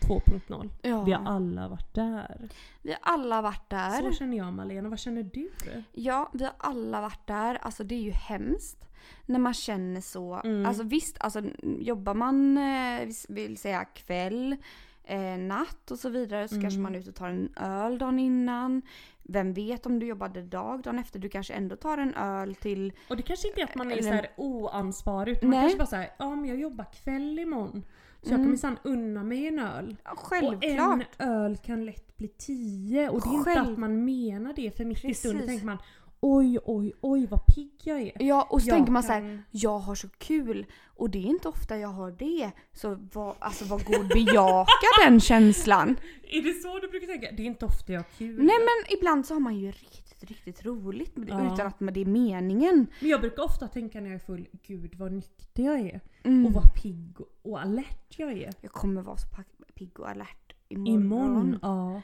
S1: 2.0.
S2: Ja.
S1: Vi har alla varit där.
S2: Vi har alla varit där.
S1: Så känner jag Malena, vad känner du?
S2: Ja, vi har alla varit där. Alltså det är ju hemskt. När man känner så.
S1: Mm.
S2: Alltså visst, alltså, jobbar man eh, vi vill säga kväll, eh, natt och så vidare så
S1: Mm.
S2: kanske man är ute och tar en öl dagen innan. Vem vet om du jobbade dag dagen efter, du kanske ändå tar en öl till...
S1: Och det kanske inte är att man är
S2: Eller-
S1: så här oansvarig utan
S2: Nej.
S1: man
S2: Mm.
S1: kanske bara såhär, ja men jag jobbar kväll imorgon. Så jag kan minsann unna mig en öl.
S2: Ja,
S1: Och
S2: Självklart!
S1: en öl kan lätt bli tio och det är inte
S2: Själv-
S1: att man menar det för mitt i stunden
S2: Precis.
S1: tänker man oj oj oj vad pigg jag är.
S2: Ja och så
S1: Jag
S2: tänker man
S1: kan-
S2: så här, jag har så kul och det är inte ofta jag har det. Så vad, alltså vad god bejaka
S1: [laughs]
S2: den känslan.
S1: Är det så du brukar tänka? Det är inte ofta jag har kul.
S2: Nej men ibland så har man ju riktigt, riktigt roligt med det,
S1: Ja.
S2: utan att det är meningen.
S1: Men jag brukar ofta tänka när jag är full, gud vad nykter jag är.
S2: Mm.
S1: Och vad pigg och alert jag är.
S2: Jag kommer vara så pa- pigg och alert imorgon.
S1: Imorgon, ja.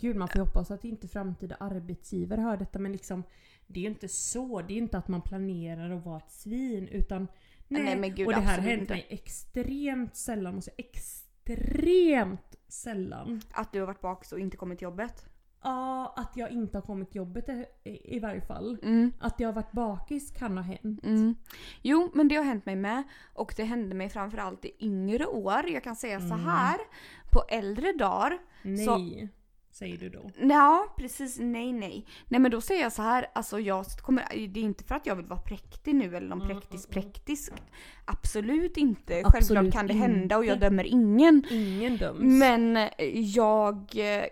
S1: Gud man får ju hoppas att inte framtida arbetsgivare hör detta men liksom Det är ju inte så, det är ju inte att man planerar att vara ett svin utan Nej,
S2: Nej, men gud,
S1: och det här har
S2: absolut
S1: hänt
S2: inte.
S1: mig extremt sällan, måste jag extremt sällan.
S2: Att du har varit bakis och inte kommit till jobbet.
S1: Ja, att jag inte har kommit till jobbet i, i varje fall.
S2: Mm.
S1: Att jag har varit bakis kan ha hänt.
S2: Mm. Jo, men det har hänt mig med. Och det hände mig framförallt i yngre år. Jag kan säga så här. På äldre dagar
S1: Nej,
S2: så
S1: säger du då.
S2: Ja, precis. Nej, nej. Nej men då säger jag så här, alltså jag kommer, det är inte för att jag vill vara präktig nu eller någon präktis präktisk. mm, Absolut inte. Självklart kan det
S1: inte.
S2: hända och jag dömer ingen.
S1: Ingen döms.
S2: Men eh, jag eh,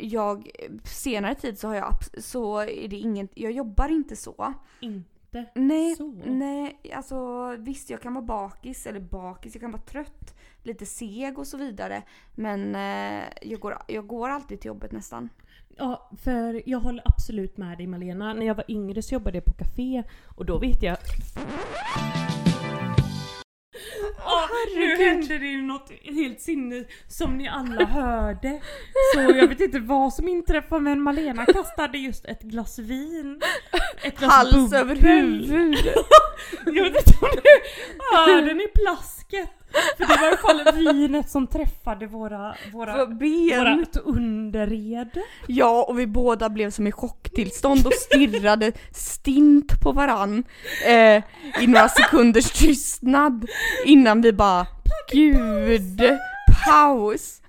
S2: jag senare tid så har jag abs- så är det inget, jag jobbar inte så.
S1: Inte
S2: Nej,
S1: så.
S2: nej, alltså visst jag kan vara bakis eller bakis, jag kan vara trött, lite seg och så vidare. Men eh, jag, går, jag går alltid till jobbet nästan.
S1: Ja, för jag håller absolut med dig Malena. När jag var yngre så jobbade jag på café och då vet jag... Åh, nu hände det ju något helt sinnes som ni alla hörde. Så jag vet inte vad som inträffade men Malena kastade just ett glas vin. Ett glas
S2: Hals
S1: bubbel.
S2: över huvud!
S1: Jag vet inte om ni hörde den i plasket. För det var i alla fall vinet som träffade våra,
S2: För
S1: våra,
S2: ben!
S1: våra underrede.
S2: Ja, och vi båda blev som i chocktillstånd och stirrade stint på varann eh, i några sekunders tystnad innan vi bara Gud, paus!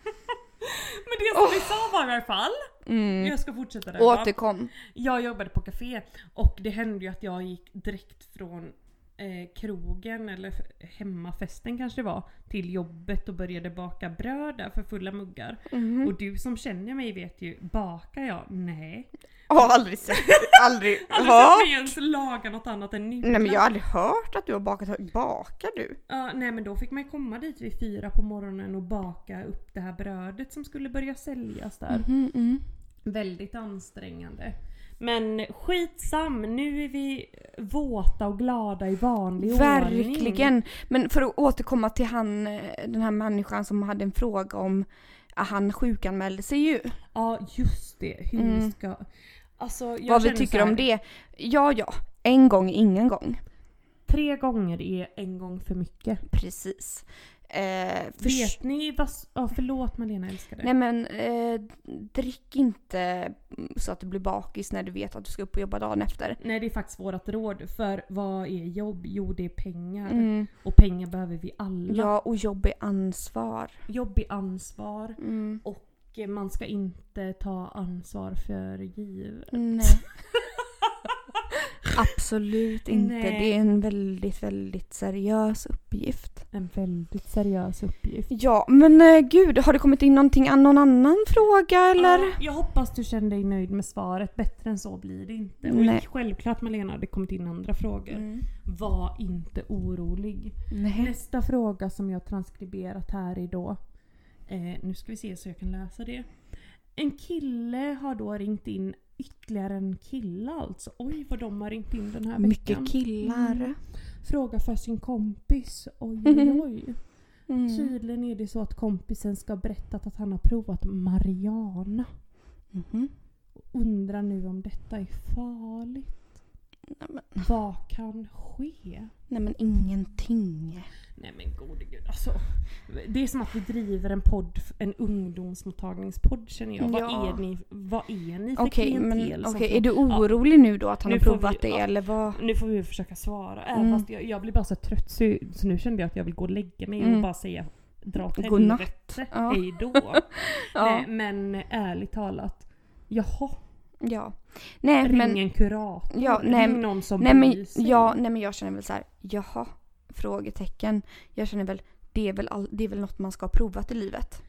S1: Men det som vi sa var i alla fall,
S2: Mm.
S1: jag ska fortsätta där. va?
S2: Återkom.
S1: Jag jobbade på café och det hände ju att jag gick direkt från eh, krogen eller f- hemmafesten kanske det var till jobbet och började baka bröd där för fulla muggar.
S2: Mhm.
S1: Och du som känner mig vet ju, bakar jag? Nej. Alltså,
S2: Har aldrig sett, [laughs] aldrig
S1: Aldrig sett
S2: hört.
S1: mig ens laga något annat än nudlar.
S2: Nej men jag har aldrig hört att du har bakat. Bakar du?
S1: Ja, nej men då fick man ju komma dit vid fyra på morgonen och baka upp det här brödet som skulle börja säljas där. Väldigt ansträngande. Men skitsam, nu är vi våta och glada i vanlig ordning.
S2: Verkligen! Men för att återkomma till han, eh, den här människan som hade en fråga om ah, han sjukanmälde sig ju.
S1: Ja just det, hur ska... Alltså, jag
S2: Mm. Vad vi
S1: känner
S2: tycker
S1: så här,
S2: om det. Ja, ja. En gång, ingen gång.
S1: Tre gånger är en gång för mycket.
S2: Precis. Eh, förs-
S1: Vet ni vad... s- Ja förlåt Malena älskade.
S2: Nej men, eh, drick inte så att du blir bakis när du vet att du ska upp och jobba dagen efter.
S1: Nej det är faktiskt vårt råd. För vad är jobb? Jo det är pengar.
S2: Mm.
S1: Och pengar behöver vi alla.
S2: Ja, och jobb är ansvar.
S1: Jobb är ansvar.
S2: Mm.
S1: Och man ska inte ta ansvar för givet.
S2: [laughs] Nej. Absolut inte.
S1: Nej.
S2: Det är en väldigt, väldigt seriös uppgift.
S1: En väldigt seriös uppgift.
S2: Ja, men eh, gud, har det kommit in någonting, an- någon annan fråga eller?
S1: Ja, jag hoppas du känner dig nöjd med svaret. Bättre än så blir det inte. Och
S2: Nej.
S1: Självklart Malena, det kommit in andra frågor.
S2: Mm.
S1: Var inte orolig.
S2: Nej.
S1: Nästa fråga som jag transkriberat här är då. Eh, nu ska vi se så jag kan läsa det. En kille har då ringt in ytterligare en kille alltså. Oj vad de har ringt in den här veckan.
S2: Mycket killar.
S1: Mm. Fråga för sin kompis. Oj oj oj.
S2: Mm.
S1: Tydligen är det så att kompisen ska ha berättat att han har provat Mariana.
S2: Mhm.
S1: Undrar nu om detta är farligt.
S2: Nej, men-
S1: Vad kan ske?
S2: Nej men ingenting.
S1: Nej men gode gud alltså. Det är som att vi driver en podd, en ungdomsmottagningspodd känner jag. Vad
S2: Ja.
S1: är ni, vad är ni för
S2: Okej,
S1: klientel?
S2: men
S1: som
S2: okej,
S1: får-
S2: är du orolig nu då att han
S1: Nu
S2: har
S1: får
S2: provat
S1: vi-
S2: det
S1: ja.
S2: eller vad?
S1: Nu får vi försöka svara. Även
S2: Mm.
S1: fast jag, jag blir bara så trött så, så nu kände jag att jag vill gå och lägga mig och
S2: Mm.
S1: bara säga dra åt
S2: Godnatt.
S1: helvete,
S2: Ja. [laughs]
S1: hejdå. Nej, men ärligt talat. Jaha,
S2: Ja. Nej
S1: ring
S2: men,
S1: en kurator.
S2: Ja, nej,
S1: ring någon som
S2: nej,
S1: bryr
S2: men,
S1: sig.
S2: ja, nej men jag känner väl så här, jaha? Frågetecken. Jag känner väl, det är väl, all, det är väl något man ska ha provat i livet.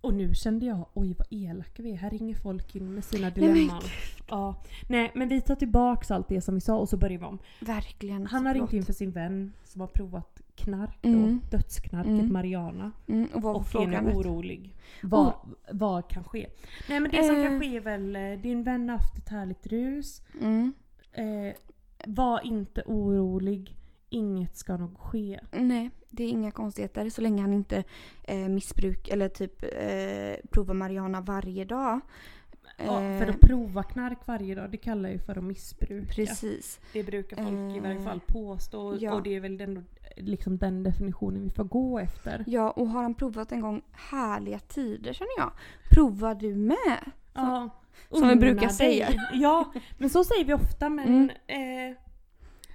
S1: Och nu kände jag, oj vad elaka vi är. Här ringer folk in med sina
S2: men
S1: dilemman. ja. Nej men vi tar tillbaks allt det som vi sa och så börjar vi om.
S2: Verkligen. alltså,
S1: Han har ringt
S2: förlåt.
S1: in för sin vän som har provat knark då.
S2: Mm.
S1: Dödsknarket
S2: Mm.
S1: Mariana.
S2: Mm, och vad var
S1: Och är nu
S2: frågan?
S1: orolig. Vad, vad kan ske? Nej men det som kan ske är väl, eh, din vän har haft ett härligt rus.
S2: Mm.
S1: Eh, var inte orolig. Inget ska nog ske.
S2: Nej, det är inga konstigheter så länge han inte eh, missbruk eller typ eh, provar marijuana varje dag.
S1: Ja,
S2: Eh,
S1: för att prova knark varje dag, det kallar jag ju för att missbruka.
S2: Precis.
S1: Det brukar folk i varje
S2: Eh,
S1: fall påstå och-
S2: ja.
S1: och det är väl den, liksom den definitionen vi får gå efter.
S2: Ja, och har han provat en gång härliga tider känner jag. Provar du med?
S1: Ja.
S2: Som vi
S1: Unna
S2: brukar
S1: dig.
S2: säga.
S1: [laughs]
S2: Mm.
S1: Ja, men så säger vi ofta men eh,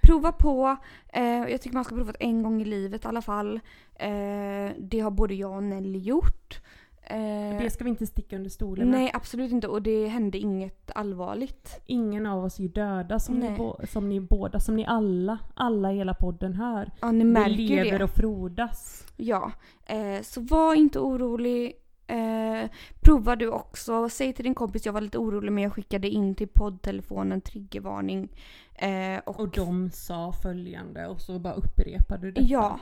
S2: Prova på. Eh, jag tycker man ska prova en gång i livet i alla fall. Eh, det har både jag och Nelly gjort. Eh,
S1: det ska vi inte sticka under stolen med.
S2: nej, absolut inte. Och det hände inget allvarligt.
S1: Ingen av oss är ju döda som ni,
S2: Nej.
S1: bå- som ni båda, som ni alla, alla i hela podden här.
S2: Ja, ni
S1: Vi
S2: märker
S1: lever
S2: det.
S1: och frodas.
S2: Ja. Eh, så var inte orolig. Eh, Eh, provar du också, säg till din kompis jag var lite orolig men jag skickade in till poddtelefonen triggervarning. Eh, och,
S1: Och de sa följande och så bara upprepade du detta.
S2: Ja.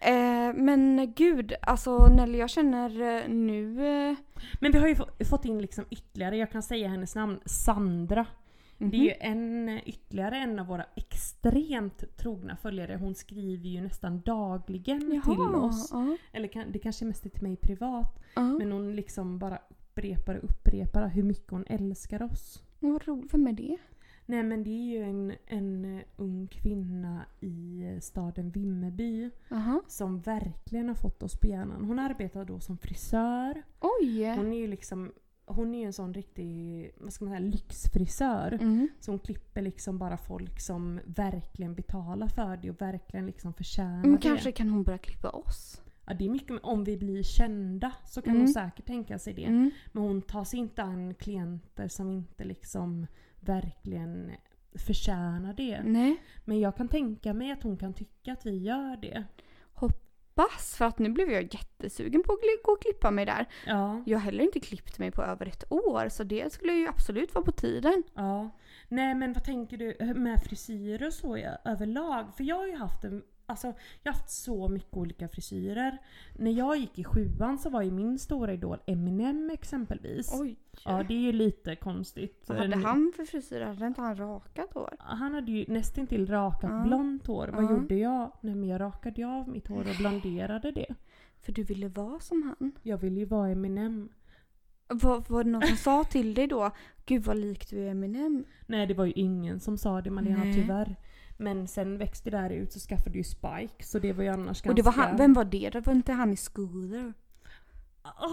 S2: Eh, men gud, alltså Nelly jag känner eh, nu... Eh,
S1: Men vi har ju få- fått in liksom ytterligare, jag kan säga hennes namn, Sandra. Det är ju en, ytterligare en av våra extremt trogna följare. Hon skriver ju nästan dagligen till oss.
S2: ja,
S1: Eller kan, det kanske mest är till mig privat.
S2: ja.
S1: Men hon liksom bara upprepar och upprepar hur mycket hon älskar oss.
S2: Vad roligt, vem är det?
S1: Nej men det är ju en, en eh, ung kvinna i eh, staden Vimmerby
S2: Aha.
S1: som verkligen har fått oss på hjärnan. Hon arbetar då som frisör.
S2: Oj!
S1: Hon är ju liksom hon är ju en sån riktig, vad ska man säga, lyxfrisör.
S2: Mm.
S1: Så hon klipper liksom bara folk som verkligen betalar för det och verkligen liksom förtjänar
S2: Men
S1: det.
S2: Mm, kanske kan hon börja klippa oss?
S1: Ja, det är mycket, om vi blir kända så kan hon
S2: Mm.
S1: säkert tänka sig det.
S2: Mm.
S1: Men hon tar sig inte an klienter som inte liksom verkligen förtjänar det.
S2: Nej.
S1: Men jag kan tänka mig att hon kan tycka att vi gör det.
S2: Bass, för att nu blev jag jättesugen på att gli- gå och klippa mig där.
S1: Ja.
S2: Jag har heller inte klippt mig på över ett år så det skulle ju absolut vara på tiden.
S1: ja. Nej men vad tänker du eh, med frisyrer och så i- överlag? För jag har ju haft en Alltså jag har haft så mycket olika frisyrer. När jag gick i sjuan så var ju min stora idol Eminem exempelvis.
S2: Oj.
S1: Ja det är ju lite konstigt.
S2: Vad hade
S1: En-
S2: han för frisyr? Hade inte han rakat hår?
S1: Han hade ju nästintill rakat
S2: Ja.
S1: blont hår. Vad
S2: Ja.
S1: gjorde jag? Nej men jag rakade ju av mitt hår och blonderade det.
S2: För du ville vara som han.
S1: Jag ville ju vara Eminem.
S2: Var, var det någon som sa till dig då? Gud vad lik du är Eminem.
S1: Nej det var ju ingen som sa det Malena
S2: Nej.
S1: tyvärr. Men sen växte det här ut så skaffade ju Spike så det var ju annars ganska...
S2: Och det var han, vem var det? Det var inte han i Scooter?
S1: Ja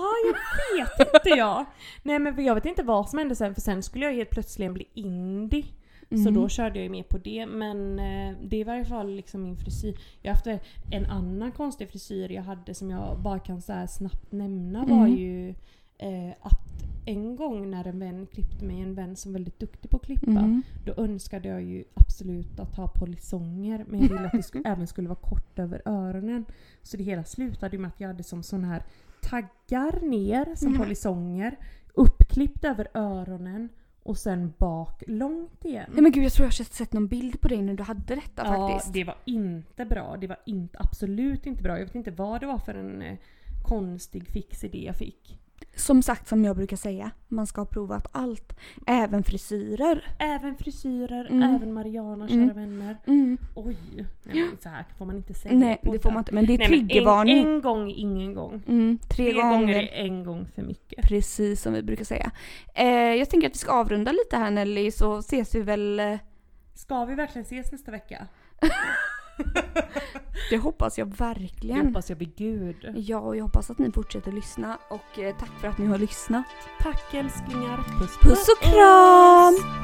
S1: jag vet inte jag. Nej men jag vet inte vad som hände sen för sen skulle jag helt plötsligt bli indie. Så
S2: Mm.
S1: då körde jag ju med på det men eh, det är i varje fall liksom min frisyr. Jag har haft en annan konstig frisyr jag hade som jag bara kan så här snabbt nämna var
S2: Mm.
S1: ju eh, att en gång när en vän klippte mig, en vän som var väldigt duktig på att klippa,
S2: Mm.
S1: då önskade jag ju absolut att ha polisonger men jag ville att
S2: [laughs]
S1: det sku- även skulle vara kort över öronen. Så det hela slutade ju med att jag hade som sån här taggar ner
S2: Mm.
S1: som polisonger, uppklippt över öronen och sen bak långt igen.
S2: Nej men gud jag tror jag har sett någon bild på dig när du hade detta faktiskt.
S1: det var inte bra. Det var inte, absolut inte bra. Jag vet inte vad det var för en eh, konstig fix idé jag fick.
S2: Som sagt som jag brukar säga, man ska ha provat allt. Även frisyrer.
S1: Även frisyrer,
S2: Mm.
S1: även Mariana, kära
S2: Mm.
S1: vänner.
S2: Mm.
S1: Oj! Nej, men så här får man inte säga.
S2: Nej
S1: på
S2: det
S1: podden.
S2: får man inte men det är
S1: Nej, men
S2: triggervarning.
S1: En, en gång, ingen gång.
S2: Mm, tre,
S1: Tre gånger.
S2: gånger.
S1: är en gång för mycket.
S2: Precis som vi brukar säga. Eh, jag tänker att vi ska avrunda lite här Nelly så ses vi väl, eh,
S1: Ska vi verkligen ses nästa vecka?
S2: det hoppas jag
S1: Jag
S2: verkligen.
S1: hoppas jag vid gud.
S2: Ja, och jag hoppas att ni fortsätter lyssna och eh, tack för att ni har lyssnat.
S1: Tack älsklingar.
S2: Puss och kram!
S1: puss.